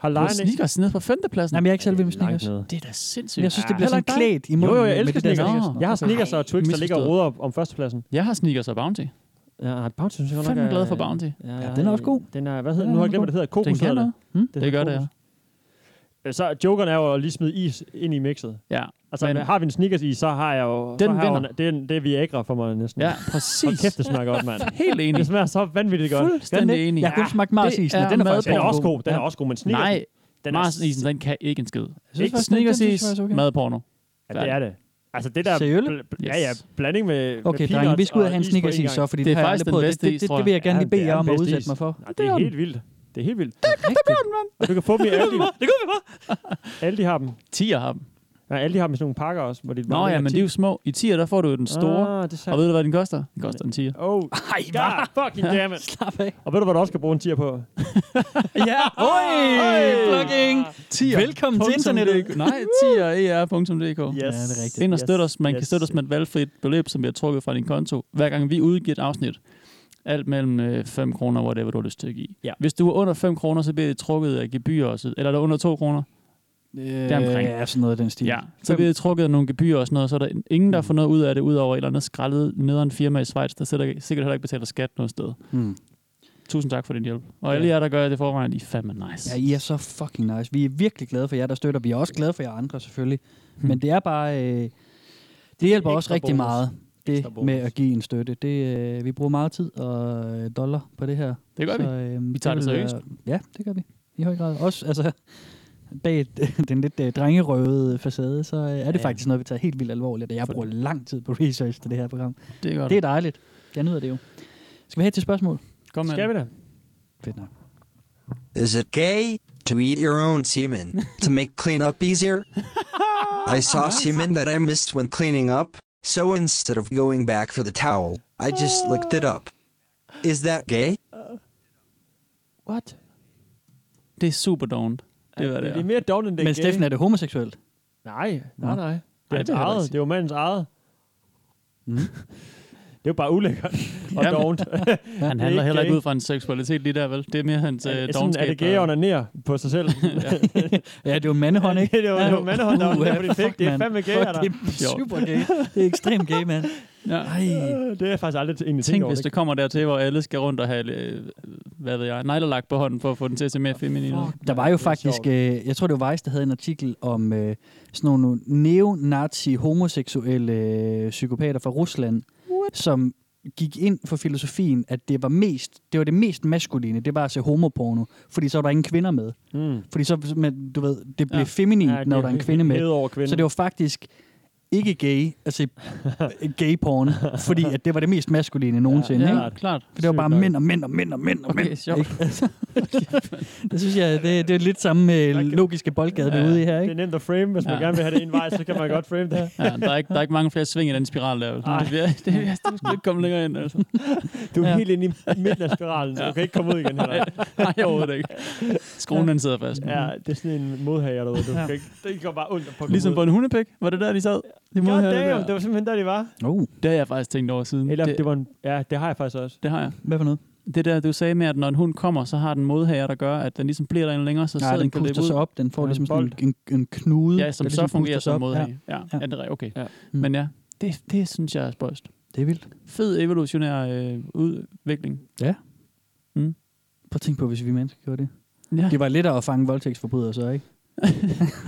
D: Har
E: Lion
D: Lion ikke...
E: sneakers nede på femtepladsen?
C: Nej, men jeg er ikke selv ved med
D: Det er langt
C: Snickers.
D: nede.
E: det er da sindssygt.
C: Men jeg synes, det
D: Ah,
C: bliver sådan
E: heller ikke
C: klædt i
D: Jo,
C: munden.
D: jo, jeg
C: med
D: elsker
C: det altså- der
D: Snickers.
E: Nå.
C: Snickers.
D: Jeg har Snickers og Twix, der ligger og
E: misforstået.
D: roder op om førstepladsen.
E: Jeg har sneakers og Bounty.
D: Ja, har Bounty, synes jeg godt nok
E: Fandme
D: er-
E: glad for Bounty.
C: Ja, den er også god.
D: øh, Den er, hvad hedder
C: Den
D: den?
C: er
D: Nu har
C: god.
D: jeg glemt, hvad det hedder. Kokos
E: Den kan
D: hedder
E: noget.
D: det.
E: Det gør det, ja.
D: ja. Så jokeren er jo at lige smide is ind i mixet.
E: Ja,
D: Altså,
E: Men-
D: Men, har vi en Snickers i, så har jeg jo... så
E: Den
D: har jeg jo
E: vinder.
D: en- det, er, en- det er Viagra for mig næsten.
E: ja
D: Hold
E: præcis.
D: kæft, det smager godt, mand.
E: Helt enig.
D: Det smager så vanvittigt godt.
E: Fuldstændig enig.
C: Jeg har kun smagt Mars
E: Det
C: isen,
E: er
C: og den er
E: mad
C: faktisk
D: Den er
E: på.
D: også god. Den er også god, men Snickers...
E: Nej,
D: den er-
E: Mars-isen, den kan ikke en skid.
D: synes faktisk,
E: Snickers
C: den- den
E: is,
C: synes jeg faktisk er okay.
E: madporno.
D: Ja, det er det. Altså, det der...
C: Seriøst?
D: bl- bl- Ja, ja, blanding med
C: Okay,
D: med
C: drenge, vi skal ud og
D: peanuts
C: have en
D: og
C: Snickers
D: is på
C: i
D: en
C: så,
D: gang.
C: fordi
E: Det er
C: det har jeg aldrig
E: faktisk den
C: prøvet.
E: bedste
C: Det, det,
E: is,
C: det,
E: tror
C: det vil jeg gerne
D: Ja,
C: lige
D: det
C: bede
D: er
C: jer om
D: den
C: at
D: bedste
C: udsætte
D: is.
C: mig for.
D: Nej, det er helt vildt. Det er helt vildt.
C: Rigtigt.
D: Og du kan få dem i Aldi. Det kan vi bare. Aldi har dem.
E: Tiger har dem.
D: Nej, alle de har dem i sådan nogle pakker også. Hvor de
E: Nå ja, men de er jo små. I 10'er, der får du jo den store.
D: Ah, det er sandt.
E: og ved du, hvad den koster? Den koster en 10'er.
D: Oh, Ej, God, fucking
E: Ja,
D: damn it. Slap af. Og ved du, hvad du også skal bruge en tier på?
E: ja,
C: Oi,
E: plugging. Tier.
C: Velkommen til internettet.
E: Nej, E tier.er.dk.
D: Yes. Ja, det er rigtigt.
E: Ind og
D: Yes,
E: støt os. Man kan
D: yes.
E: støtte os med et valgfrit beløb, som bliver trukket fra din konto, hver gang vi udgiver et afsnit. Alt mellem øh, 5 kroner, whatever du har lyst til at give.
C: Ja.
E: Hvis du er under 5 kroner, så bliver det trukket af gebyr også. Eller er det under 2 kroner?
C: Øh,
E: Deromkring.
C: Ja, sådan noget af den stil.
E: Ja, så bliver det trukket af nogle gebyrer og sådan noget, så er der ingen,
D: Mm.
E: der får noget ud af det, udover et eller andet skrællet nederen firma i Schweiz, der sikkert sikkert heller ikke betaler skat noget sted.
C: Mm.
E: Tusind tak for din hjælp. Og alle
C: Ja.
E: jer, der gør det i forvejen, I er fandme nice.
C: Ja, I er så fucking nice. Vi er virkelig glade for jer, der støtter. Vi er også glade for jer andre, selvfølgelig.
E: Hmm.
C: Men det er bare... Øh, det hjælper
D: Ekstra
C: også rigtig
D: bonus.
C: meget,
D: Ekstra
C: det
D: bonus.
C: med at give en støtte. Det, øh, vi bruger meget tid og øh, dollar på det her.
E: Det gør vi.
C: øh,
E: Vi tager
C: vil
E: det seriøst.
C: være- Ja, det gør vi. I høj grad. Også altså, bag den lidt øh, drengerøvede facade, så øh, er det ja.
E: Ja.
C: faktisk noget, vi tager helt vildt alvorligt. og Jeg bruger lang tid på research til det her program.
E: Det er godt.
C: Det er dejligt. Jeg nyder det jo. Skal vi have til spørgsmål?
E: Kom med.
D: Skal vi da?
C: Fedt nok.
F: Is it gay to eat your own semen to make cleanup easier? I saw semen that I missed when cleaning up, so instead of going back for the towel, I just licked it up. Is that gay?
E: What? Det er super dovent. Det var det.
D: Det er
E: er.
D: mere down end det
C: Men Steffen, er det homoseksuelt?
D: Nej, nej, nej. Det er
E: det er
D: hans
E: heller
D: eget.
E: ikke.
D: Det er jo mandens eget. det er jo bare ulækkert og
E: Jamen.
D: dovent.
E: Han handler heller ikke ud fra en seksualitet lige der, vel? Det er mere hans øh,
D: det sådan,
E: dogenskab.
D: er det gay og ned på sig selv?
C: Ja, det er jo en mandehånd, ikke? Uh,
D: det er jo en mandehånd, der er nede på din pik. Det er fandme gay,
C: her,
D: er der.
C: Det er
E: Jo.
C: super gay. Det er ekstremt gay, mand.
E: Ja.
C: Ej,
D: Øh, Det er jeg faktisk aldrig egentlig tænkt
E: Tænk,
D: over.
E: hvis det kommer dertil, hvor alle skal rundt og have, øh, hvad ved jeg, neglelak på hånden for at få den til at se mere feminin ud.
C: øh, der var jo
D: det er
C: faktisk, øh, jeg tror det var Vice, der havde en artikel om øh, sådan nogle neonazi homoseksuelle øh, psykopater fra Rusland, What? som gik ind for filosofien, at det var mest, det var det mest maskuline, det var at se homoporno, fordi så var der ingen kvinder med.
D: Mm.
C: Fordi så, men, du ved, det blev
E: Ja.
C: ja. feminint, ja, når der er en kvinde med.
D: Hed over kvinde.
C: Så det var faktisk ikke gay at se gay porn, fordi at det var det mest maskuline nogensinde.
E: Ja,
C: ikke?
E: klart, klart.
C: For det var bare
D: Sygt nok.
C: mænd og mænd og mænd og mænd og
E: Okay,
C: mænd.
E: sjovt.
C: ikke? Altså, det synes jeg, det, det er lidt samme øh, logiske boldgade, vi er
E: Ja,
C: ude i her.
D: det er
C: Ikke?
D: nemt at frame. Hvis man
E: Ja.
D: gerne vil have det en vej, så kan man godt frame det.
E: Ja, der, er ikke, der er ikke mange flere sving i den spiral der. vel?
D: Nej.
E: Det, bliver, det, bliver, det skal ikke komme længere ind, altså.
D: Du er
C: Ja.
D: helt inde i midten af spiralen, så du kan ikke komme ud igen heller.
E: Nej, overhovedet ikke. Skruen, den sidder fast.
D: Ja, det er sådan en modhager derude. Du kan ikke, det går bare ondt at pukke
E: Ligesom
D: ud.
E: på en hundepik. Var det der, de sad? De
D: God
E: modhørte
D: damn,
E: der.
D: det var simpelthen der, de var.
C: Oh,
E: Det har jeg faktisk tænkt over siden.
D: Eller det,
E: det,
D: det var en, ja, det har jeg faktisk også.
E: det har jeg.
C: hvad for noget?
E: Det der, du sagde med, at når en hund kommer, så har den modhager, der gør, at den ligesom bliver derinde længere, så
C: Nej,
E: sæden
C: den
E: kan løbe
C: puster sig
E: ud.
C: op. Den får
D: Ja,
C: ligesom
D: en
C: sådan en, en, en knude.
E: Ja, som
C: der
E: så
C: ligesom
E: fungerer
C: puster sig
E: som
C: op.
E: modhager.
C: Ja,
E: Ja,
C: Ja.
E: ja. det er okay.
D: Ja.
C: Mm.
E: Men ja, det, det synes jeg er spøjst.
C: det er vildt.
E: Fed evolutionær øh, udvikling.
C: Prøv at tænke på, hvis vi mennesker gjorde det.
E: Ja.
C: Det var lettere at fange voldtægtsforbrydere så, ikke?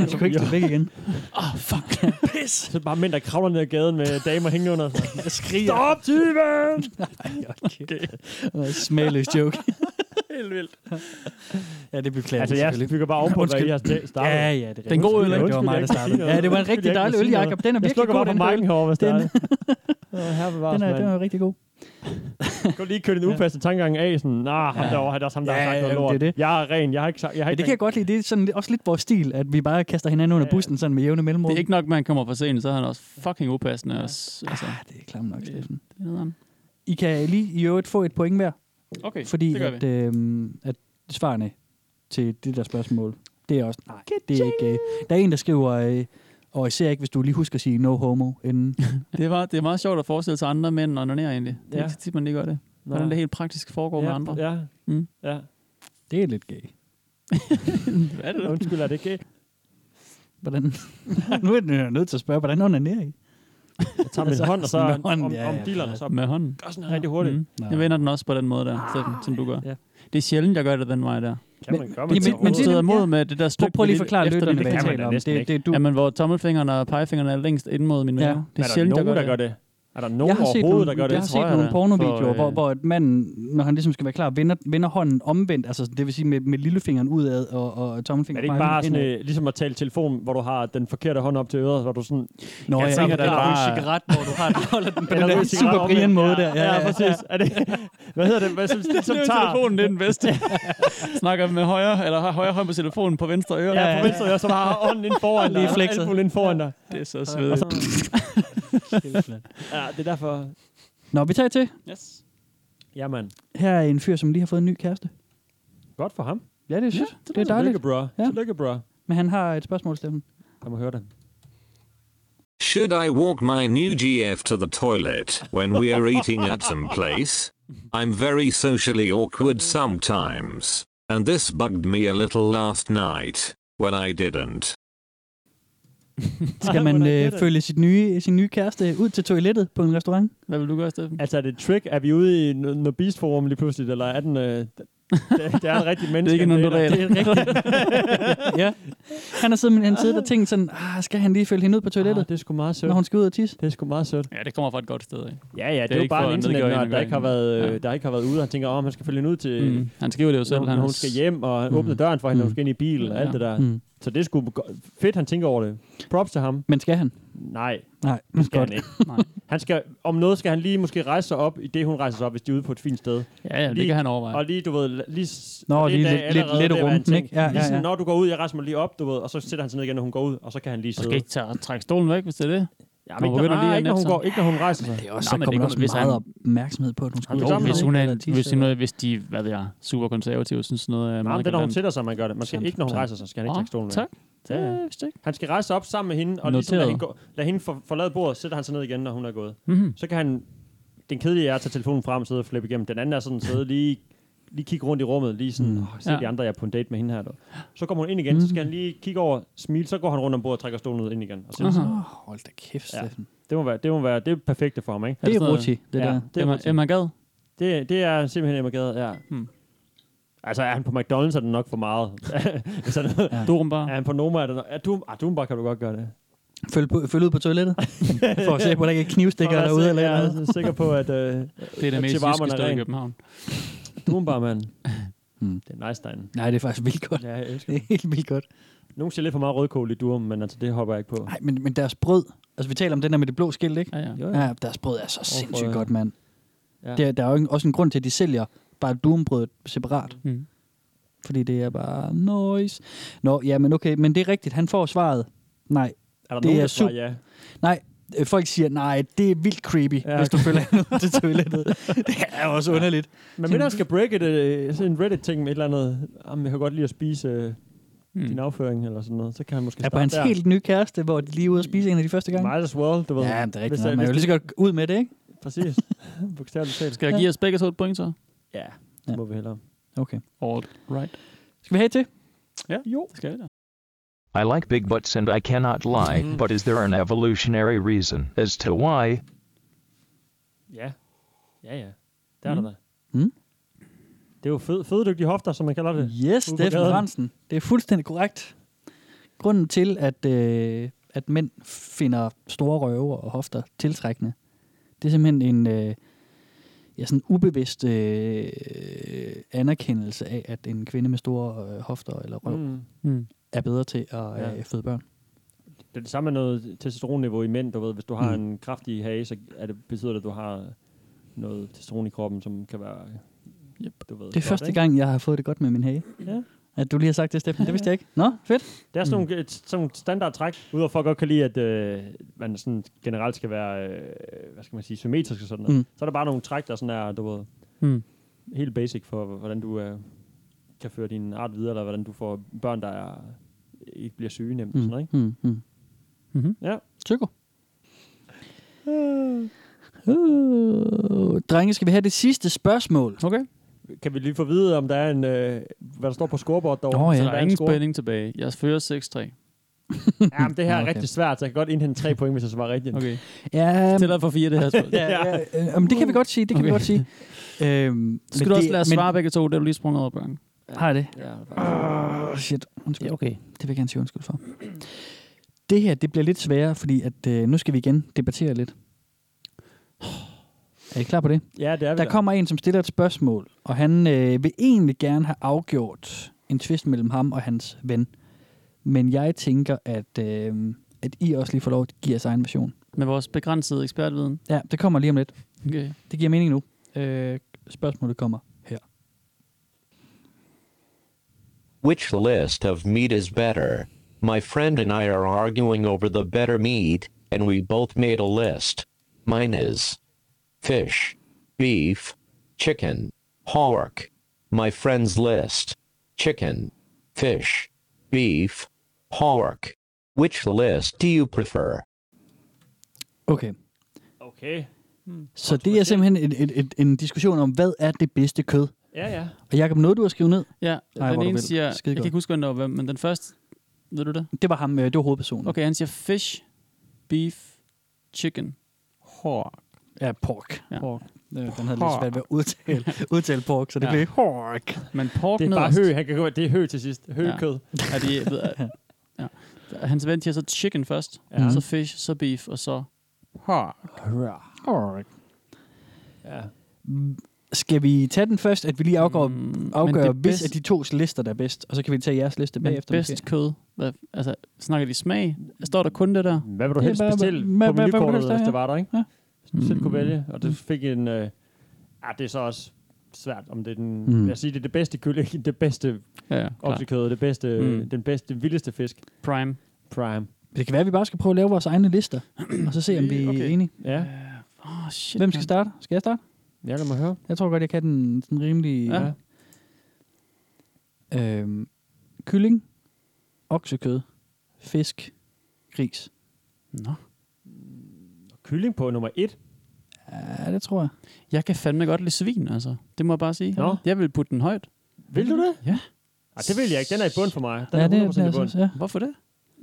C: Så kunne ikke slippe væk igen.
E: Åh, oh, fuck.
D: Så er det bare mænd, der kravler ned ad gaden med damer hængende under sig.
C: Jeg skriger.
D: Stop, tyven!
C: Ej, okay. Smagløs joke.
E: Helt vildt.
C: Ja, det beklager
D: Altså,
C: jeg
D: jeg bygger bare ovenpå, hvad I har sta- startet.
C: Ja, ja, det er
E: Den gode
C: Det
E: øl,
C: var
D: undskyld,
C: mig, der
D: jeg kan ikke sige
C: startede.
D: noget.
C: Ja, det var en
D: Undskyld, jeg
C: rigtig
D: kan
C: dejlig
D: ikke
C: øl,
D: sige noget.
C: Jacob. Den er
D: Jeg
C: virkelig
D: slukker
C: god,
D: bare
C: den
D: på
C: her øl.
D: marken herovre, hvis det
C: Den-
D: er. Åh, Her bevares,
C: Den er, den
D: mand.
C: er rigtig god.
D: Kan du lige køre din ufaste tankegang af, sådan, nah, ham derovre, det er også ham, der
C: Ja,
D: har sagt
C: jamen,
D: noget lort.
C: det er det.
D: Jeg er ren, jeg har ikke sagt, jeg har
C: Ja,
D: ikke
C: det kan jeg godt lide. Det er sådan, lidt- også lidt vores stil, at vi bare kaster hinanden under bussen sådan med jævne mellemrum.
E: Det er ikke nok, man kommer for sent, så er han også fucking upassende. Ja. Altså,
C: ah, det er klamt nok, Steffen.
E: det hedder han.
C: I kan lige i øvrigt få et point hver,
E: okay,
C: fordi
E: det gør vi.
C: at, øh, at svarene til det der spørgsmål, det er også, nej, det er ikke... Øh, der er en, der skriver, øh, og især ikke, hvis du lige husker at sige no homo inden.
E: Det, var, det er meget sjovt at forestille sig andre mænd og onanere egentlig. Det er
D: Ja.
E: ja. ikke så tit, man lige gør det.
D: Nej.
E: Hvordan det helt praktisk foregår ja. med andre.
D: Ja,
E: Mm.
D: ja.
C: Det er lidt gay.
E: Hvad er det?
D: ja. Undskyld, er det ikke?
C: Hvordan? nu er jeg nødt til at spørge, hvordan onanerer I?
D: Jeg tager min
C: Altså,
D: hånd, og så
C: med
D: om,
C: hånden,
D: om,
C: ja,
D: om
C: ja,
D: dillerne, så
E: Med hånden.
D: gør sådan rigtig hurtigt.
E: Mm.
C: Nå.
E: Jeg vender den også på den måde der, Steffen, som du gør.
C: ja.
E: Det er sjældent, jeg gør det den vej der.
D: Kan man gøre
C: men- men- men
D: det
E: Man
C: det-
D: overhovedet?
E: støder
C: nemlig-
E: mod
C: ja.
E: med det der stykke
C: Prøv lige at forklare
E: efter
C: lytterne,
E: den
C: hvad
E: vej.
C: jeg
D: kan man
C: taler
D: da
C: om.
D: næsten
C: Det,
D: ikke.
C: det, du,
E: Jamen, hvor tommelfingeren og pegefingeren er længst ind mod min mave.
C: Ja.
E: Det er
D: Er der
E: sjældent, jeg
D: nogen,
E: gør
D: der
E: det.
D: gør det? Er der nogen overhovedet, der gør det?
C: Jeg har
D: Det
C: set
D: tror jeg
C: nogle
D: da.
C: pornovideoer,
D: For,
C: hvor,
D: øh,
C: hvor at manden, når han ligesom skal være klar, vender, vender hånden omvendt, altså sådan, det vil sige med, med lillefingeren udad og, og
D: Er det
C: tommelfingeren
D: ikke bare sådan, øh, ligesom at tale i telefon, hvor du har den forkerte hånd op til øret, hvor du sådan... øh,
C: Nå, jeg
D: så
C: tænker,
D: er
C: der er
D: bare-
C: en cigaret, hvor du har den- holder den på
D: Eller
C: den
D: ryger
C: der
D: cigaret
C: super
D: omvendt.
C: Brian-måde der.
D: Ja,
C: Ja,
D: ja,
C: ja.
D: præcis. Er det, hvad hedder det? Hvad, som, som, som
E: Nu er
D: tager...
E: telefonen det er den bedste. Snakker med højre, eller har højre hånd på telefonen på venstre øre.
D: Ja, på venstre øre, som har ånden ind foran dig.
E: Lige flexet.
D: Albumen ind foran dig.
E: Det er så
D: Og
E: svedigt.
D: så- Ja, det er derfor...
C: Nå, vi tager til.
E: Yes.
D: Jamen,
C: Her er en fyr, som lige har fået en ny kæreste.
D: godt for ham.
C: Ja, det er sødt. det, er dejligt.
D: Tillykke, bro.
C: Ja.
D: Tillykke, bro.
C: Men han har et spørgsmål, Steffen.
D: Lad mig høre det.
K: Should I walk my new GF to the toilet when we are eating at some place? I'm very socially awkward sometimes, and this bugged me a little last night when I didn't.
C: Skal man øh, følge sit nye, sin nye kæreste ud til toilettet på en restaurant?
E: Hvad vil du gøre, Steffen?
D: Altså, er det et trick? Er vi ude i no- noget beast-forum lige pludselig, eller er den... Øh, det, det er en rigtig menneske.
E: ikke en undulater.
D: Det er en rigtig...
C: ja. Han har siddet, med- han siddet og tænkt sådan, ah, skal han lige følge hende ud på toilettet,
D: Ah, det er sgu meget
C: ah,
D: sødt.
C: når hun skal ud og tisse?
D: Det er sgu meget sødt.
E: Ja, det kommer fra et godt sted. Ikke?
D: Ja, ja, det, det er jo
E: ikke for
D: bare en
E: at nedgøre
D: internetnørd,
E: hende,
D: der, ikke har
E: gør
D: været,
E: hende.
D: ja.
E: Ja.
D: der ikke har været ude. Han tænker, om oh, han skal følge hende ud til,
E: Mm. Han skriver det jo selv.
D: når
E: Han,
D: hun skal hjem, og han
E: Mm.
D: åbner døren for hende, når hun
C: Mm.
D: skal ind i bilen, og alt
E: Ja.
D: det der.
C: Mm.
D: Så det er sgu go- fedt, han tænker over det. Props til ham.
C: Men skal han?
D: Nej,
C: Nej,
D: det skal
C: godt.
D: han ikke. Han skal, om noget skal han lige måske rejse sig op, i det hun rejser sig op, hvis de er ude på et fint sted.
E: Ja, ja, det
D: Lige-
E: kan han overveje.
D: Og lige, du ved, la- lige... s-
C: Nå,
D: det er
C: lige
D: da
C: lidt- lidt-
D: allerede
C: lidt
D: ved at være en
C: rumpen,
D: ting.
C: ikke? Ja,
D: Lige
C: ja,
D: sådan,
C: ja.
D: Når du går ud, jeg rejser mig lige op, du ved, og så sætter han sig ned igen, når hun går ud, og så kan han lige
E: Du
D: sidde.
E: skal ikke tage, trække stolen væk, hvis det er det.
D: Ja,
E: Nå,
D: men ikke,
E: begynder
D: når,
E: lige
D: nej,
E: at
D: ikke, når hun
E: næppe sig.
D: går, ikke når hun rejser sig.
C: Det er også,
E: Nå,
C: så
E: men det
C: kommer der
E: kan-
C: også
E: hvis
C: meget
E: han-
C: opmærksomhed på, at hun skal
D: Jo,
C: ud
E: Jo,
C: og
D: sammen,
E: hvis,
C: tisse
E: hun er,
C: eller tisse
E: hvis, de,
C: eller-
E: noget, hvis de, hvad ved jeg, super konservative, synes noget er
D: Nej,
E: meget
D: det er, når hun
E: grimt.
D: sætter sig, man gør det. Man skal
E: Sandt,
D: ikke, når hun
E: sandt.
D: rejser sig, skal han ikke
E: Åh,
D: trække stolen væk.
E: Tak.
D: Ja, ja.
E: Ja, vist ikke.
D: Han skal rejse sig op sammen med hende, og ligesom lade
E: Noteret.
D: hende, gå, lade hende for, forlade bordet, sætter han sig ned igen, når hun er gået.
E: Mhm.
D: Så kan han, den kedelige er at tage telefonen frem, sidde og flippe igennem. Den anden er sådan sidde lige, lige kigge rundt i rummet, lige sådan, mm. se
E: Ja.
D: de andre, jeg er på en date med hende her. Du. Så kommer hun ind igen, så skal han lige kigge over, smile, så går han rundt om bordet og trækker stolen ud ind igen. Og sætter sig.
E: Aha.
C: Åh, hold da kæft,
D: Ja.
C: Steffen.
D: Det må være, det må være det er perfekte for ham, ikke?
C: Det
E: sådan
C: er
E: noget-
C: ruti, det
D: ja.
C: der.
D: Det er
E: Emma,
D: godt set.
E: Emma Gad.
D: Det, det er simpelthen Emma Gade, ja.
C: Hmm.
E: Mm.
D: Altså, er han på McDonald's, er det nok for meget. Hvis han,
E: Ja. Durum bare.
D: er han på Noma, er det nok... Er du, ah, Doombar kan du godt gøre det.
C: Følg, på, følg ud på toilettet, for at se, hvor der ikke er knivstikker
D: Og jeg er
C: derude
D: sik-
C: eller et eller
D: Jeg
C: andet.
D: er sikker på, at øh,
E: Det er det
D: Chihuahuaen
E: mest jyske
D: er
E: sted i
D: ren.
E: København.
D: du er bare mand.
C: Mm.
D: Det er nice derinde.
C: Nej, det er faktisk vildt godt.
D: Ja, jeg elsker
C: Det
D: det.
C: er helt vildt godt.
D: Nogle siger lidt for meget rødkål i durum, men altså, det hopper jeg ikke på.
C: Nej, men, men deres brød. Altså, vi taler om den der med det blå skilt, ikke?
E: Ja, ja.
D: Jo, ja.
C: Ja, deres brød er så sindssygt
D: ja.
C: godt, mand.
D: Ja.
C: Ja. Der, der er jo en- også en grund til, at de sælger bare durumbrød separat.
E: Mm.
C: Fordi det er bare noise. Nå, ja, men okay, men det er rigtigt. Han får svaret. Nej.
D: Er der
C: det
D: nogen,
C: er
D: der svarer
C: sup-
D: ja?
C: Nej, øh, folk siger, nej, det er vildt creepy,
D: Ja,
C: ja, hvis du følger hende til toilettet. Det er jo også underligt.
D: Men mindre skal break et, øh, sådan en Reddit-ting med et eller andet. Jamen, jeg kan godt lide at spise øh, din
E: Mm.
D: afføring eller sådan noget. Så kan han måske
C: Hmm. Ja, på
D: starte
C: hans
D: der.
C: helt nye kæreste, hvor de lige er ude at spise en af de første gange.
D: Might as well, du ved.
C: Ja, men det er rigtigt.
D: Hvis
C: nok. Man er jo
D: hvis
C: lige så godt ud med det, ikke?
D: Præcis. Bogstaveligt talt.
E: Skal jeg give os begge to et point, så?
D: Ja, det må vi hellere.
C: Okay.
E: All right.
C: Skal vi have et til?
D: Jo.
E: Det skal vi da.
G: I like big butts and I cannot lie,
D: Mhm.
G: but is there an evolutionary reason as to why?
D: Ja. Ja, ja. Det er
E: Mm.
D: der da.
C: Mm.
D: Det er jo fed, fødedygtige hofter, som man kalder det.
C: Yes,
D: Ude på
C: Steffen
D: gaden.
C: Fransen. Det er fuldstændig korrekt. Grunden til, at, øh, at mænd finder store røve og hofter tiltrækkende, det er simpelthen en øh, ja, sådan ubevidst øh, anerkendelse af, at en kvinde med store øh, hofter eller røv mm.
D: Mm.
E: Mm.
C: er bedre til at
D: Ja.
C: øh, føde børn.
D: Det er det samme med noget testosteronniveau i mænd, du ved. Hvis du har mm.
C: Mm.
D: en kraftig hage, så er det, betyder det, at du har noget testosteron i kroppen, som kan være...
E: Yep.
D: Du ved,
C: Det er første gang, jeg har fået det godt med min hage.
D: Ja.
C: At du lige har sagt det, Steffen. Det vidste jeg ikke. Nå, fedt.
D: Det er sådan nogle, et, sådan nogle standardtræk, udover at folk godt kan lide, at øh, man sådan generelt skal være, øh, hvad skal man sige, symmetrisk og sådan noget. Mm.
C: Mm.
D: Så er der bare nogle træk, der sådan er, du ved,
E: Mm.
D: helt basic for, hvordan du øh, kan føre din art videre, eller hvordan du får børn, der er, ikke bliver syge nemt. Mm. Sådan noget, ikke?
C: Mm. Mm.
E: Mm-hmm.
D: Ja.
C: Tykker. Uh, drenge, skal vi have det sidste spørgsmål?
E: Okay.
D: Kan vi lige få at vide, om der er en, øh, hvad der står på scoreboard derovre?
C: Nå, ja.
D: Så
E: Så
D: der
E: der er ingen spænding tilbage. Jeg fører 6-3.
D: Ja, men det her er
C: Nå, okay.
D: rigtig svært, så jeg kan godt indhente tre point, hvis jeg svarer rigtigt.
E: Okay.
C: Ja,
E: Til dig for fire, det her spørgsmål.
C: ja, ja. Øh, men det kan vi godt sige, det kan okay. vi
E: um, Okay.
C: godt sige. Øhm,
E: Så skal
C: men
E: du også
C: det-
E: lade os
C: men-
E: svare begge to, det er du lige sprunget over børn.
C: Har jeg det?
D: Ja,
C: Åh, oh, shit. Undskyld.
E: Ja, okay.
C: Det vil jeg gerne sige undskyld for. Det her, det bliver lidt sværere, fordi at, øh, nu skal vi igen debattere lidt. Er I klar på det?
D: Ja, det er vi
C: Der
D: da.
C: kommer en, som stiller et spørgsmål, og han øh, vil egentlig gerne have afgjort en tvist mellem ham og hans ven. Men jeg tænker, at, øh, at I også lige får lov at give jeres egen version.
E: Med vores begrænsede ekspertviden.
C: Ja, det kommer lige om lidt.
E: Okay.
C: Det giver mening nu. Øh, spørgsmålet kommer her.
H: Which list of meat is better? My friend and I are arguing over the better meat, and we both made a list. Mine is fish, beef, chicken, pork. My friend's list chicken, fish, beef, pork. Which list do you prefer?
C: Okay.
D: Okay. Hmm.
C: Så det er simpelthen en, en, en, en diskussion om, hvad er det bedste kød?
D: Ja, ja.
C: Og Jacob, nåede du at skrive ned?
E: Ja,
C: Ej,
E: den
C: hvor er du
E: ene
C: vild.
E: siger, jeg kan
C: Skidegodt.
E: ikke huske, hvem der var hvem, men den første, ved du det?
C: Det var ham, øh, det var hovedpersonen.
E: Okay, han siger fish, beef, chicken, hawk.
C: Ja, pork.
E: Ja.
C: pork. Øh, Den havde lidt svært ved at udtale, udtale pork, så det
E: Ja.
C: ja. blev pork.
E: Men pork
D: Det er bare
E: nederst.
D: hø. Han kan gå, det er hø til sidst. Høkød.
E: Ja. Ja, de, ved, ja. Hans ven siger så chicken først,
D: Ja.
E: ja. så fish, så beef, og så hawk.
C: Pork. Ja. Skal vi tage den først, at vi lige afgår,
D: Mm,
C: afgør,
E: det
C: hvis
E: bedst-
C: af de tos lister, der er bedst, og så kan vi tage jeres liste
E: Men
C: bagefter.
E: bedst kød. Hvad, altså, snakker de smag? Står der kun det der?
D: Hvad vil du helst bestille på menukortet, hvis det var der, ikke?
C: Ja.
D: Hvis du selv kunne
E: Mm.
D: vælge, og det fik en... Øh, ah, det er så også svært, om det er den...
E: Mm.
D: Mm. Jeg siger, det er det bedste kylling, det bedste
E: Ja, ja, klart.
D: oksekød, det bedste,
E: Mm.
D: mm. den bedste, vildeste fisk.
E: Prime.
D: Prime.
C: Det kan være, at vi bare skal prøve at lave vores egne lister, og så se, om vi er
D: Okay.
C: enige.
D: Ja.
E: Oh, shit,
C: Hvem skal starte? Skal jeg starte?
D: Ja, lad mig høre.
C: Jeg tror godt, jeg kan den sådan rimelig...
E: Ja.
C: Øhm, kylling, oksekød, fisk, gris.
E: Nå.
D: Kylling på nummer et.
C: Ja, det tror jeg.
E: Jeg kan fandme godt lide svin, altså. Det må jeg bare sige.
D: Nå.
E: Jeg vil putte den højt.
D: Vil du det?
E: Ja.
D: Ej, det vil jeg ikke. Den er i bund for mig.
C: Ja,
D: Den ja, er
C: det er-
D: 100% det,
C: det
D: i
C: er
D: bund.
C: sådan, ja.
E: Hvorfor det?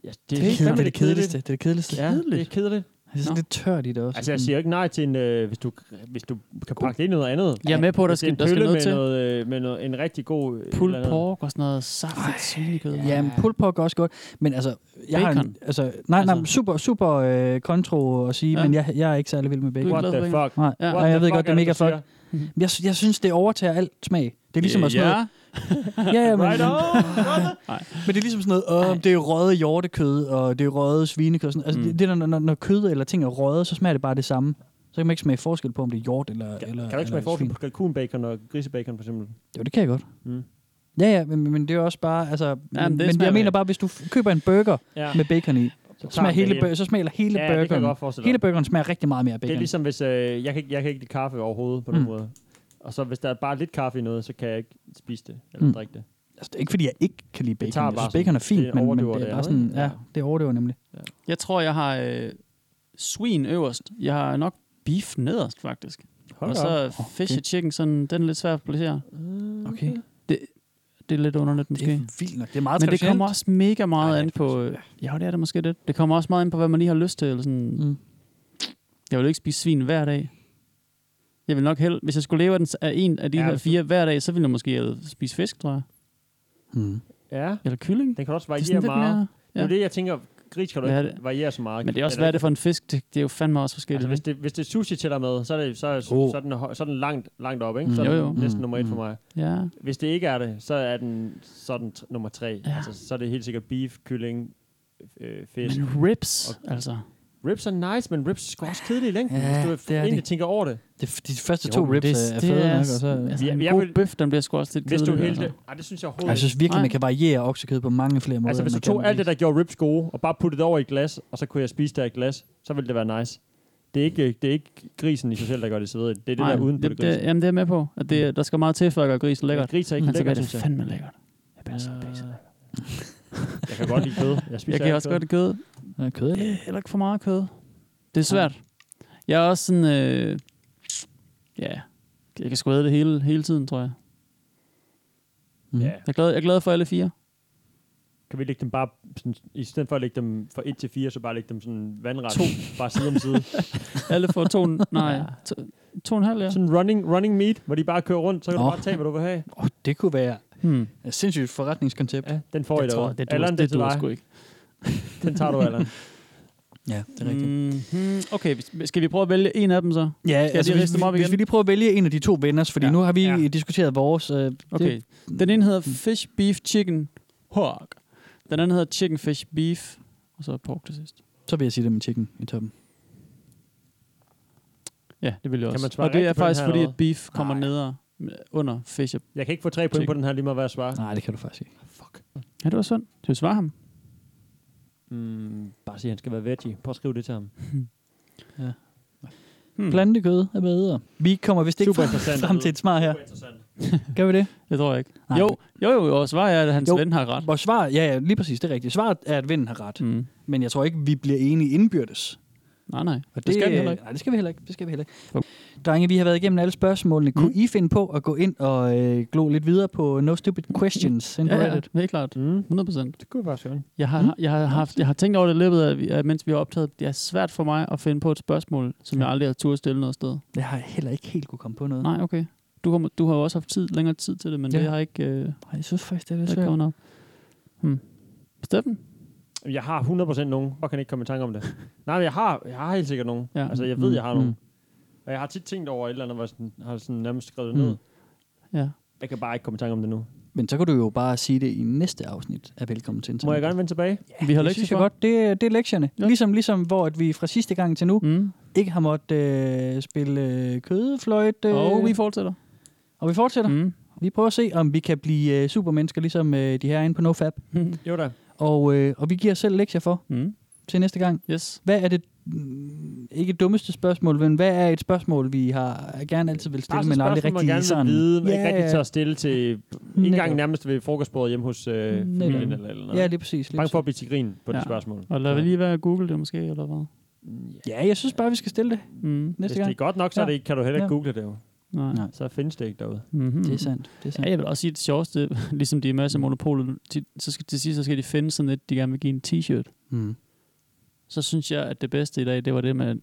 D: Ja, det,
C: Det
D: det,
C: er
D: det,
C: fandme
D: det,
C: det kedeligste. Det er det kedeligste.
D: Ja, det er
C: Kedeligt.
D: kedeligt.
C: Det er sådan lidt tørt i det også.
D: Altså, jeg siger ikke nej til en, øh, hvis, du, hvis du kan pakke det ind i noget andet.
E: Jeg er med på, at der
D: Hvis det er
E: skal-
D: en
E: der skal
D: pølle
E: noget
D: med
E: til.
D: Noget, øh, med noget, en rigtig god... øh,
E: Pulled
D: eller andet.
E: pork og sådan noget saftigt svinekød.
C: Ja, men pulled pork er også godt. Men altså, jeg har en,
E: Bacon.
C: altså, nej, nej, super, super øh, kontro at sige,
E: Ja.
C: ja. men jeg, jeg er ikke særlig vild med bacon.
E: What the
D: What the fuck?
C: Nej,
E: Ja.
C: ja. nej,
D: What the
C: jeg ved
D: fuck
C: godt, det er
D: er det,
C: mega
D: du
C: fuck. Men Jeg, sy- jeg synes, det overtager alt smag. Det er ligesom også
E: Øh, Ja.
C: noget... Ja, ja, men,
D: Right on!
C: men det er ligesom sådan noget, åh, det er røget hjortekød, og det er røget svinekød. og Sådan. Altså,
E: Mm.
C: mm. det, det, er, når, når, når kød eller ting er røget, så smager det bare det samme. Så kan man ikke smage forskel på, om det er hjort eller,
D: Kan,
C: eller
D: kan du ikke smage
C: eller
D: forskel
C: svin.
D: på kalkunbacon og grisebacon, for eksempel?
C: Jo, det kan jeg godt.
D: Mm.
C: Ja, ja, men, men det er jo også bare, altså...
E: det
C: men, men
E: smager
C: jeg mener
E: ikke.
C: bare, hvis du f- køber en burger
D: Ja.
C: ja. med bacon i, så,
D: tager
C: smager
D: den
C: hele,
D: igen.
C: bur- så smager hele
D: Ja, det kan jeg
C: burgeren.
D: godt forestille mig.
C: hele burgeren smager rigtig meget mere af bacon.
D: Det er ligesom, hvis... Øh, jeg, kan, ikke- jeg kan ikke lide kaffe overhovedet, på den
C: Mm.
D: måde. Og så hvis der er bare lidt kaffe i noget, så kan jeg ikke spise det, eller
C: Mm.
D: drikke det.
C: altså, det er ikke fordi, jeg ikke kan lide bacon.
D: tager
C: Jeg
D: bare
C: synes, bacon er
D: sådan-
C: fint,
D: det
C: men, men
D: overdøver
C: det
D: det
C: er bare
D: andet,
C: sådan...
D: ikke?
C: Ja, det overdøver nemlig.
E: Jeg tror, jeg har øh, svin øverst. Jeg har nok beef nederst, faktisk.
D: Hold
E: og
D: da
E: så fish and chicken, sådan, den er lidt svær at placere.
C: Okay.
E: Det, det er lidt underligt, måske.
C: Det er vildt nok. Det er meget
E: Men det
C: traditionelt.
E: kommer også mega meget Ej, an på... Øh, ja, det er det måske lidt. Det kommer også meget an på, hvad man lige har lyst til. Eller sådan.
C: Mm.
E: Jeg vil jo ikke spise svin hver dag. Jeg vil nok hellere... Hvis jeg skulle leve af, den, af en af de
D: Ja,
E: ja, her
D: hvis
E: fire hver dag, så ville jeg måske øh, spise fisk, tror jeg.
C: Mm.
D: Ja,
E: Eller kylling.
D: den kan også
E: Det er
D: variere
E: sådan lidt
D: meget.
E: mere...
D: Det er det, jeg tænker, gris kan du
E: Hvad er
D: ikke
E: det?
D: variere så meget.
E: Men det er også,
D: Eller-
E: hvad er det for en fisk? Det, det er jo fandme også
D: Altså,
E: forskelligt.
D: hvis
E: Altså,
D: det, hvis det er sushi til dig med, så er, det, så, er,
C: Oh.
D: så, er den, hø- så er den langt, langt op, ikke?
E: Mm.
D: Så er
E: Jo,
D: den
E: jo.
D: næsten
C: Mm,
D: nummer et for
C: mm.
D: mig.
E: ja.
D: Hvis det ikke er det, så er den, så er den t- nummer tre.
E: Ja.
D: Ja. Altså, så er det helt sikkert beef, kylling, øh, fisk.
E: Men ribs,
D: Og-
E: altså.
D: Rips er nice, men rips er sgu også kedelige i længden,
C: Ja,
D: hvis du
C: det er
D: egentlig
C: de.
D: tænker over det.
C: Det, de første
E: Jo,
C: to
E: men
C: ribs
E: Oh, det-
C: er, er
E: det
C: fede
E: er
C: nok, og så...
E: Altså,
D: Jeg-
E: en
D: jeg
E: god
D: vil-
E: bøf, den bliver sgu også lidt
D: Hvis du
E: kedelig.
D: hældte...
E: altså.
D: Ej, det synes jeg
C: Jeg
D: overhovedet ikke.
C: synes virkelig,
E: Nej.
C: man kan variere oksekød på mange flere måder.
D: Altså, hvis
C: end
D: du
C: man kan
D: tog
C: med
D: alt det,
C: ris.
D: der gjorde rips gode, og bare puttede det over i et glas, og så kunne jeg spise det af et glas, så ville det være nice. Det er ikke, det er ikke grisen i sig selv, der gør det så ved. Det er det,
E: Nej,
D: der er uden på det,
E: det, det,
D: grisen.
E: jamen, det er jeg med på. At det, der skal meget til, for at gøre gris lækkert.
D: Gris er ikke
E: Men så
D: lækker,
E: bliver det
D: synes jeg.
E: fandme lækkert. Jeg bliver så pisse.
D: Jeg kan godt lide kød. Jeg spiser
E: Jeg kan
D: alt
E: også
D: kød.
E: godt lide kød.
C: Ja, kød, eller?
E: Øh, Heller ikke for meget kød. Det er svært. Jeg er også sådan... Øh, ja, jeg kan sgu æde det hele, hele tiden, tror jeg.
C: Mm.
D: Ja.
E: Jeg er, glad, jeg er glad for alle fire.
D: Kan vi lægge dem bare, sådan, i stedet for at lægge dem fra 1 til 4, så bare lægge dem sådan vandret, to. bare side om side.
E: Alle får to... nej, to, to og en halv, ja.
D: Sådan running, running meat, hvor de bare kører rundt, så kan du
C: Nå.
D: bare tage, hvad du vil have.
C: Åh, det kunne være
E: Hmm.
C: et sindssygt forretningskoncept.
D: Ja, den får I
E: Jeg tror,
D: derude.
E: det
D: Allan,
E: duer,
D: det er
E: det
D: til
E: duer
D: dig.
E: sgu ikke.
D: Den tager du, Allan.
C: Ja, det er rigtigt.
E: Mm-hmm. Okay, vi- skal vi prøve at vælge en af dem så?
C: Ja,
E: skal
C: altså,
E: jeg lige
C: hvis,
E: riste dem op
C: vi-
E: igen?
C: hvis vi lige prøver at vælge en af de to venners, fordi ja. nu har vi ja. diskuteret vores... Øh,
E: Okay. Den ene hedder Fish Beef Chicken Pork. Den anden hedder Chicken Fish Beef. Og så pork til sidst.
C: Så vil jeg sige det med chicken i toppen.
E: Ja, det vil jeg
D: Kan
E: også.
D: man svare
E: og det er
D: rigtigt på den
E: faktisk
D: her,
E: fordi,
D: eller
E: at beef kommer ned under fish. og-
D: Jeg kan ikke få tre point på den her, lige meget hvad jeg svarer.
C: Nej, det kan du faktisk ikke.
E: Ja, det var sundt. Skal vi svare ham?
L: Mm, bare sig, han skal være veggie. Prøv at skrive det til ham.
C: Ja. Hmm. Plantekød er bedre. Vi kommer vist ikke
L: Super
C: frem,
L: interessant.
C: frem til et svar her. Gør vi det?
E: Det tror jeg ikke.
C: Nej.
E: Jo, jo, jo, og svaret er, at hans ven har ret.
C: Vores svar, ja, ja, lige præcis, det er rigtigt. Svaret er, at vinden har ret.
E: Mm.
C: Men jeg tror ikke, vi bliver enige indbyrdes.
E: Nej, nej.
C: Og det, øh,
E: Det skal vi heller ikke.
C: Nej, det skal vi heller ikke. Det skal vi heller ikke. Drenge, vi har været igennem alle spørgsmålene. Kunne I finde på at gå ind og øh, glo lidt videre på No Stupid Questions ind på
E: Ja, ja,
C: Reddit?
E: det er klart.
D: Mm.
E: 100 procent.
D: Det kunne være sjovt.
E: Jeg
C: Mm.
E: har, jeg, har haft, jeg har tænkt over det i løbet af, vi- af, mens vi har optaget. Det er svært for mig at finde på et spørgsmål, som jeg aldrig har turde stille noget sted.
C: Jeg har heller ikke helt kunne komme på noget.
E: Nej, okay. Du, kommer, du har jo også haft tid, længere tid til det, men
C: Ja.
E: det har ikke... Øh,
C: jeg synes faktisk, det er lidt
E: ikke
C: svært.
E: kommet op. Hmm. Steffen?
D: Jeg har 100% nogen. Jeg kan ikke komme i tanke om det. Nej, men jeg har, jeg har helt sikkert nogen.
E: Ja.
D: Ja. Altså, jeg ved,
E: Mm,
D: jeg har nogen.
E: mm.
D: Og jeg har tit tænkt over et eller andet, hvor jeg sådan, har sådan nærmest skrevet det
C: Mm.
D: ned.
E: Ja.
D: Jeg kan bare ikke komme i tanke om det nu.
C: Men så kan du jo bare sige det i næste afsnit af Velkommen til
D: Må
C: Internet.
D: jeg gerne vende tilbage?
C: Ja, vi har det synes jeg godt. Det, er- det er lektierne. Ja. Ligesom, ligesom hvor at vi fra sidste gang til nu
E: mm.
C: ikke har måttet øh, spille øh, kødefløjte.
E: Og vi fortsætter.
C: Og vi fortsætter.
E: Mm.
C: Vi prøver at se, om vi kan blive øh, supermennesker, ligesom øh, de her inde på NoFab.
D: jo da.
C: Og, øh, og vi giver os selv lektier for
E: mm.
C: til næste gang.
E: Yes.
C: Hvad er det, mm, ikke dummeste spørgsmål, men hvad er et spørgsmål, vi har gerne altid vil
D: Bare
C: stille,
D: sådan et
C: men aldrig
D: spørgsmål, man
C: rigtig
D: gerne
C: sådan...
D: vil vide, men
C: Ja,
D: ikke rigtig
C: ja.
D: tør stille til... Ikke engang nærmest ved frokostbordet hjemme hos øh, familien
C: Netop.
D: eller, eller noget.
C: Ja, lige præcis, lige
D: Bange for
C: præcis.
D: at blive til grin på ja. det spørgsmål.
E: Og lad vi lige være at google det måske, eller hvad?
C: Ja, jeg synes bare, vi skal stille det
E: mm.
D: Hvis
C: næste
D: det
C: gang.
D: er godt nok, så er det ikke, kan du heller ikke
C: Ja.
D: google det jo.
E: Nej.
C: Nej.
D: Så findes det ikke derude.
E: Mm-hmm.
C: Det er
D: Mm.
C: sandt. Det er sandt.
E: Ja, jeg vil også sige, at det sjoveste, ligesom de er masser af monopolet, de, så skal, til sidst så skal de finde sådan et, de gerne vil give en t-shirt.
C: Mm.
E: Så synes jeg, at det bedste i dag, det var det med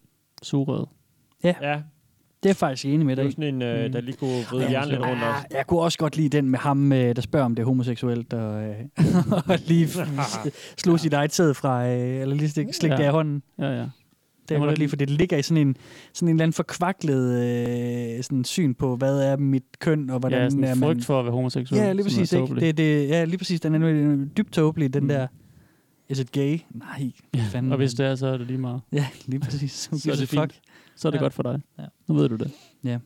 E: sugerød.
C: Ja.
D: ja.
C: Det er jeg faktisk enig med
D: Det er
C: dig.
D: jo
C: i.
D: sådan en, øh, der lige kunne vride
C: Ja,
D: hjernen lidt
C: ah,
D: rundt også.
C: Jeg kunne også godt lide den med ham, øh, der spørger, om det er homoseksuelt, og, øh, og lige slog sit eget sæd fra, øh, eller lige slik, slik ja. det af hånden.
E: Ja, ja.
C: Det er jeg godt lige, for det ligger i sådan en, sådan en eller anden forkvaklet øh, sådan syn på, hvad er mit køn, og hvordan
E: ja, sådan
C: er
E: en
C: man...
E: frygt for at være homoseksuel.
C: Ja, lige
E: som er
C: præcis. Ikke?
E: tåbelig.
C: Det, det, ja, lige præcis. Den er nu dybt tåbelig, den mm. der... Is it gay? Nej, fanden.
E: Og hvis det er, så er det lige meget.
C: Ja, lige præcis.
E: så er det fint. Så er det
C: Ja.
E: godt for dig.
C: Ja.
E: Nu ved du det.
C: Ja.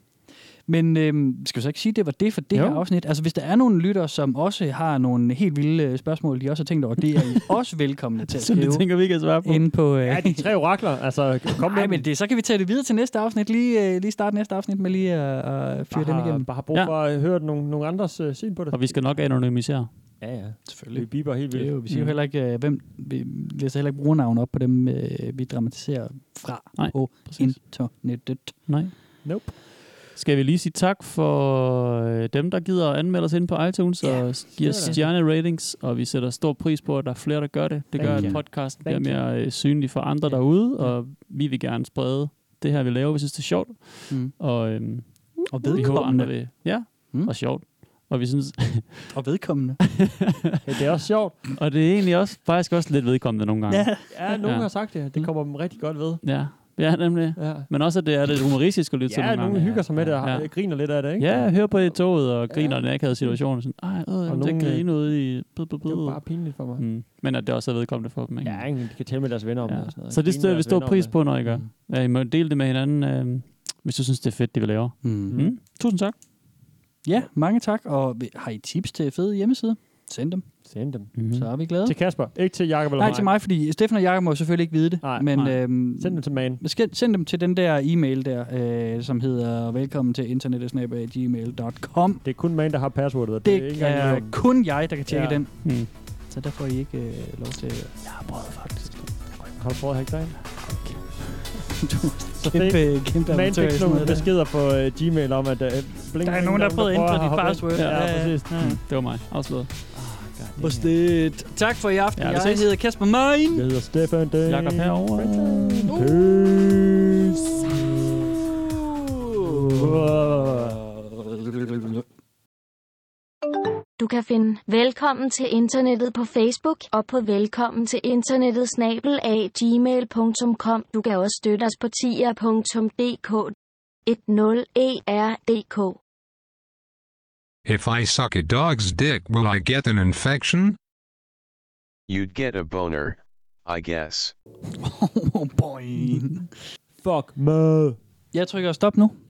C: Men øhm, skal vi så ikke sige, at det var det for det
E: Jo.
C: jo. her afsnit? Altså, hvis der er nogle lytter, som også har nogle helt vilde øh, spørgsmål, de også har tænkt over, det er I også velkomne til at
E: Som
C: skrive.
E: det tænker vi ikke at svare på.
C: Inde på... Øh,
D: Ja, de tre orakler. Altså, kom med
C: Nej, men
D: dem.
C: det, så kan vi tage det videre til næste afsnit. Lige, øh, lige starte næste afsnit med lige at øh, fyre den
D: Bare-
C: igennem.
D: Bare har brug for at høre nogle, nogle andres øh, syn på det.
E: Og vi skal nok anonymisere.
D: Ja, ja.
C: Selvfølgelig.
D: Vi biber helt
C: Det er
D: vildt.
C: jo, vi
E: Mm.
C: siger jo heller ikke, øh, hvem, vi læser heller ikke brugernavn op på dem, øh, vi dramatiserer fra
E: Nej,
C: på
E: præcis.
C: internettet.
E: Nej.
D: Mm. Nope.
E: Skal vi lige sige tak for øh, dem, der gider at anmelde os ind på iTunes yeah, og s- giver os
D: det er det.
E: stjerneratings, og vi sætter stor pris på, at der er flere, der gør det. Det gør,
C: Thank
E: at
C: you.
E: podcasten bliver
C: Thank
E: mere øh, synlig for andre derude, og vi vil gerne sprede det her, vi laver. Vi synes, det er sjovt,
C: Mm.
E: og, øhm,
C: Og
E: vi håber, andre
C: vedkommende.
E: vil. Ja,
C: Mm.
E: og sjovt. Og vi synes,
C: Og vedkommende.
D: Ja, det er også sjovt.
E: og det er egentlig også, faktisk også lidt vedkommende nogle gange.
C: Ja. Mm.
D: Ja, nogen
E: Ja.
D: har sagt det. Det kommer dem rigtig godt ved.
E: Ja, ja nemlig.
D: Ja,
E: Men også, at det er lidt humoristisk at lytte til
D: ja
E: nogle
D: nogen
E: gange.
D: hygger sig med det og har-
E: Ja.
D: griner lidt af det, ikke?
E: Ja, hør på det i toget og griner ja. den akavede situation. Sådan, Ej, øh, og
D: nogle,
E: nogen,
D: øh,
E: det griner ud i... Blah, blah,
D: Det er jo
E: blah.
D: bare pinligt for mig.
E: Mm. Men at det også er vedkommende for dem. Ikke?
D: Ja, ikke? de kan tale med deres venner om det. og sådan
E: ja.
D: noget.
E: Så det
D: Grine
E: stiller
D: med
E: vi
D: deres
E: stor
D: venner om
E: pris
D: det. Mm.
E: på, når I gør. Ja, I må dele det med hinanden, øh, hvis du synes, det er fedt, det vi laver.
C: Mm.
E: Mm. Tusind tak.
C: Ja, mange tak. Og vi- har I tips til fede hjemmesider? Send dem.
D: Send dem.
E: Mm.
C: Så er vi glade.
D: Til Kasper, ikke til Jakob eller
C: Nej, til mig, fordi Steffen og Jakob må jo selvfølgelig ikke vide det.
D: Nej,
C: men
E: nej.
C: Øhm,
D: Send dem til man.
C: skal- send dem til den der e-mail der, øh, som hedder velkommen til internettet.gmail.com.
D: Det er kun man, der har passwordet. og
C: Det,
D: ikke
C: det
D: engang
C: er
D: Jakob.
C: kun jeg, der kan tjekke
D: Ja.
C: ja. den.
E: Mm.
C: Så der får I ikke øh, lov til...
D: Har du prøvet at hacke dig ind? Så det-
C: Kæmpe, øh, kæmpe
D: Man
C: amatør i
D: fik
C: sådan
D: nogle
C: noget der.
D: beskeder på øh, Gmail om, at... øh, blink,
C: Der er
D: blink,
C: nogen, der har prøvet at
D: prøver
C: ændre dit
D: hoppe ind.
C: password.
D: Ja, præcis.
C: ja.
E: Det var mig. Afslået.
C: Postet. Tak for i aften.
E: Ja,
C: Ja,
E: vi
C: jeg
E: ses.
C: hedder Kasper Mein.
D: Jeg hedder Stefan Dane.
E: Jakob herovre.
D: Peace. Wow.
B: Du kan finde Velkommen til internettet på Facebook og på velkommen til internettet snabel af gmail.com. Du kan også støtte os på tier.dk E 10er.dk
G: If I suck a dog's dick, will I get an infection?
M: You'd get a boner, I guess.
C: Oh,
D: Boing.
C: Fuck med.
D: Jeg trykker stop nu.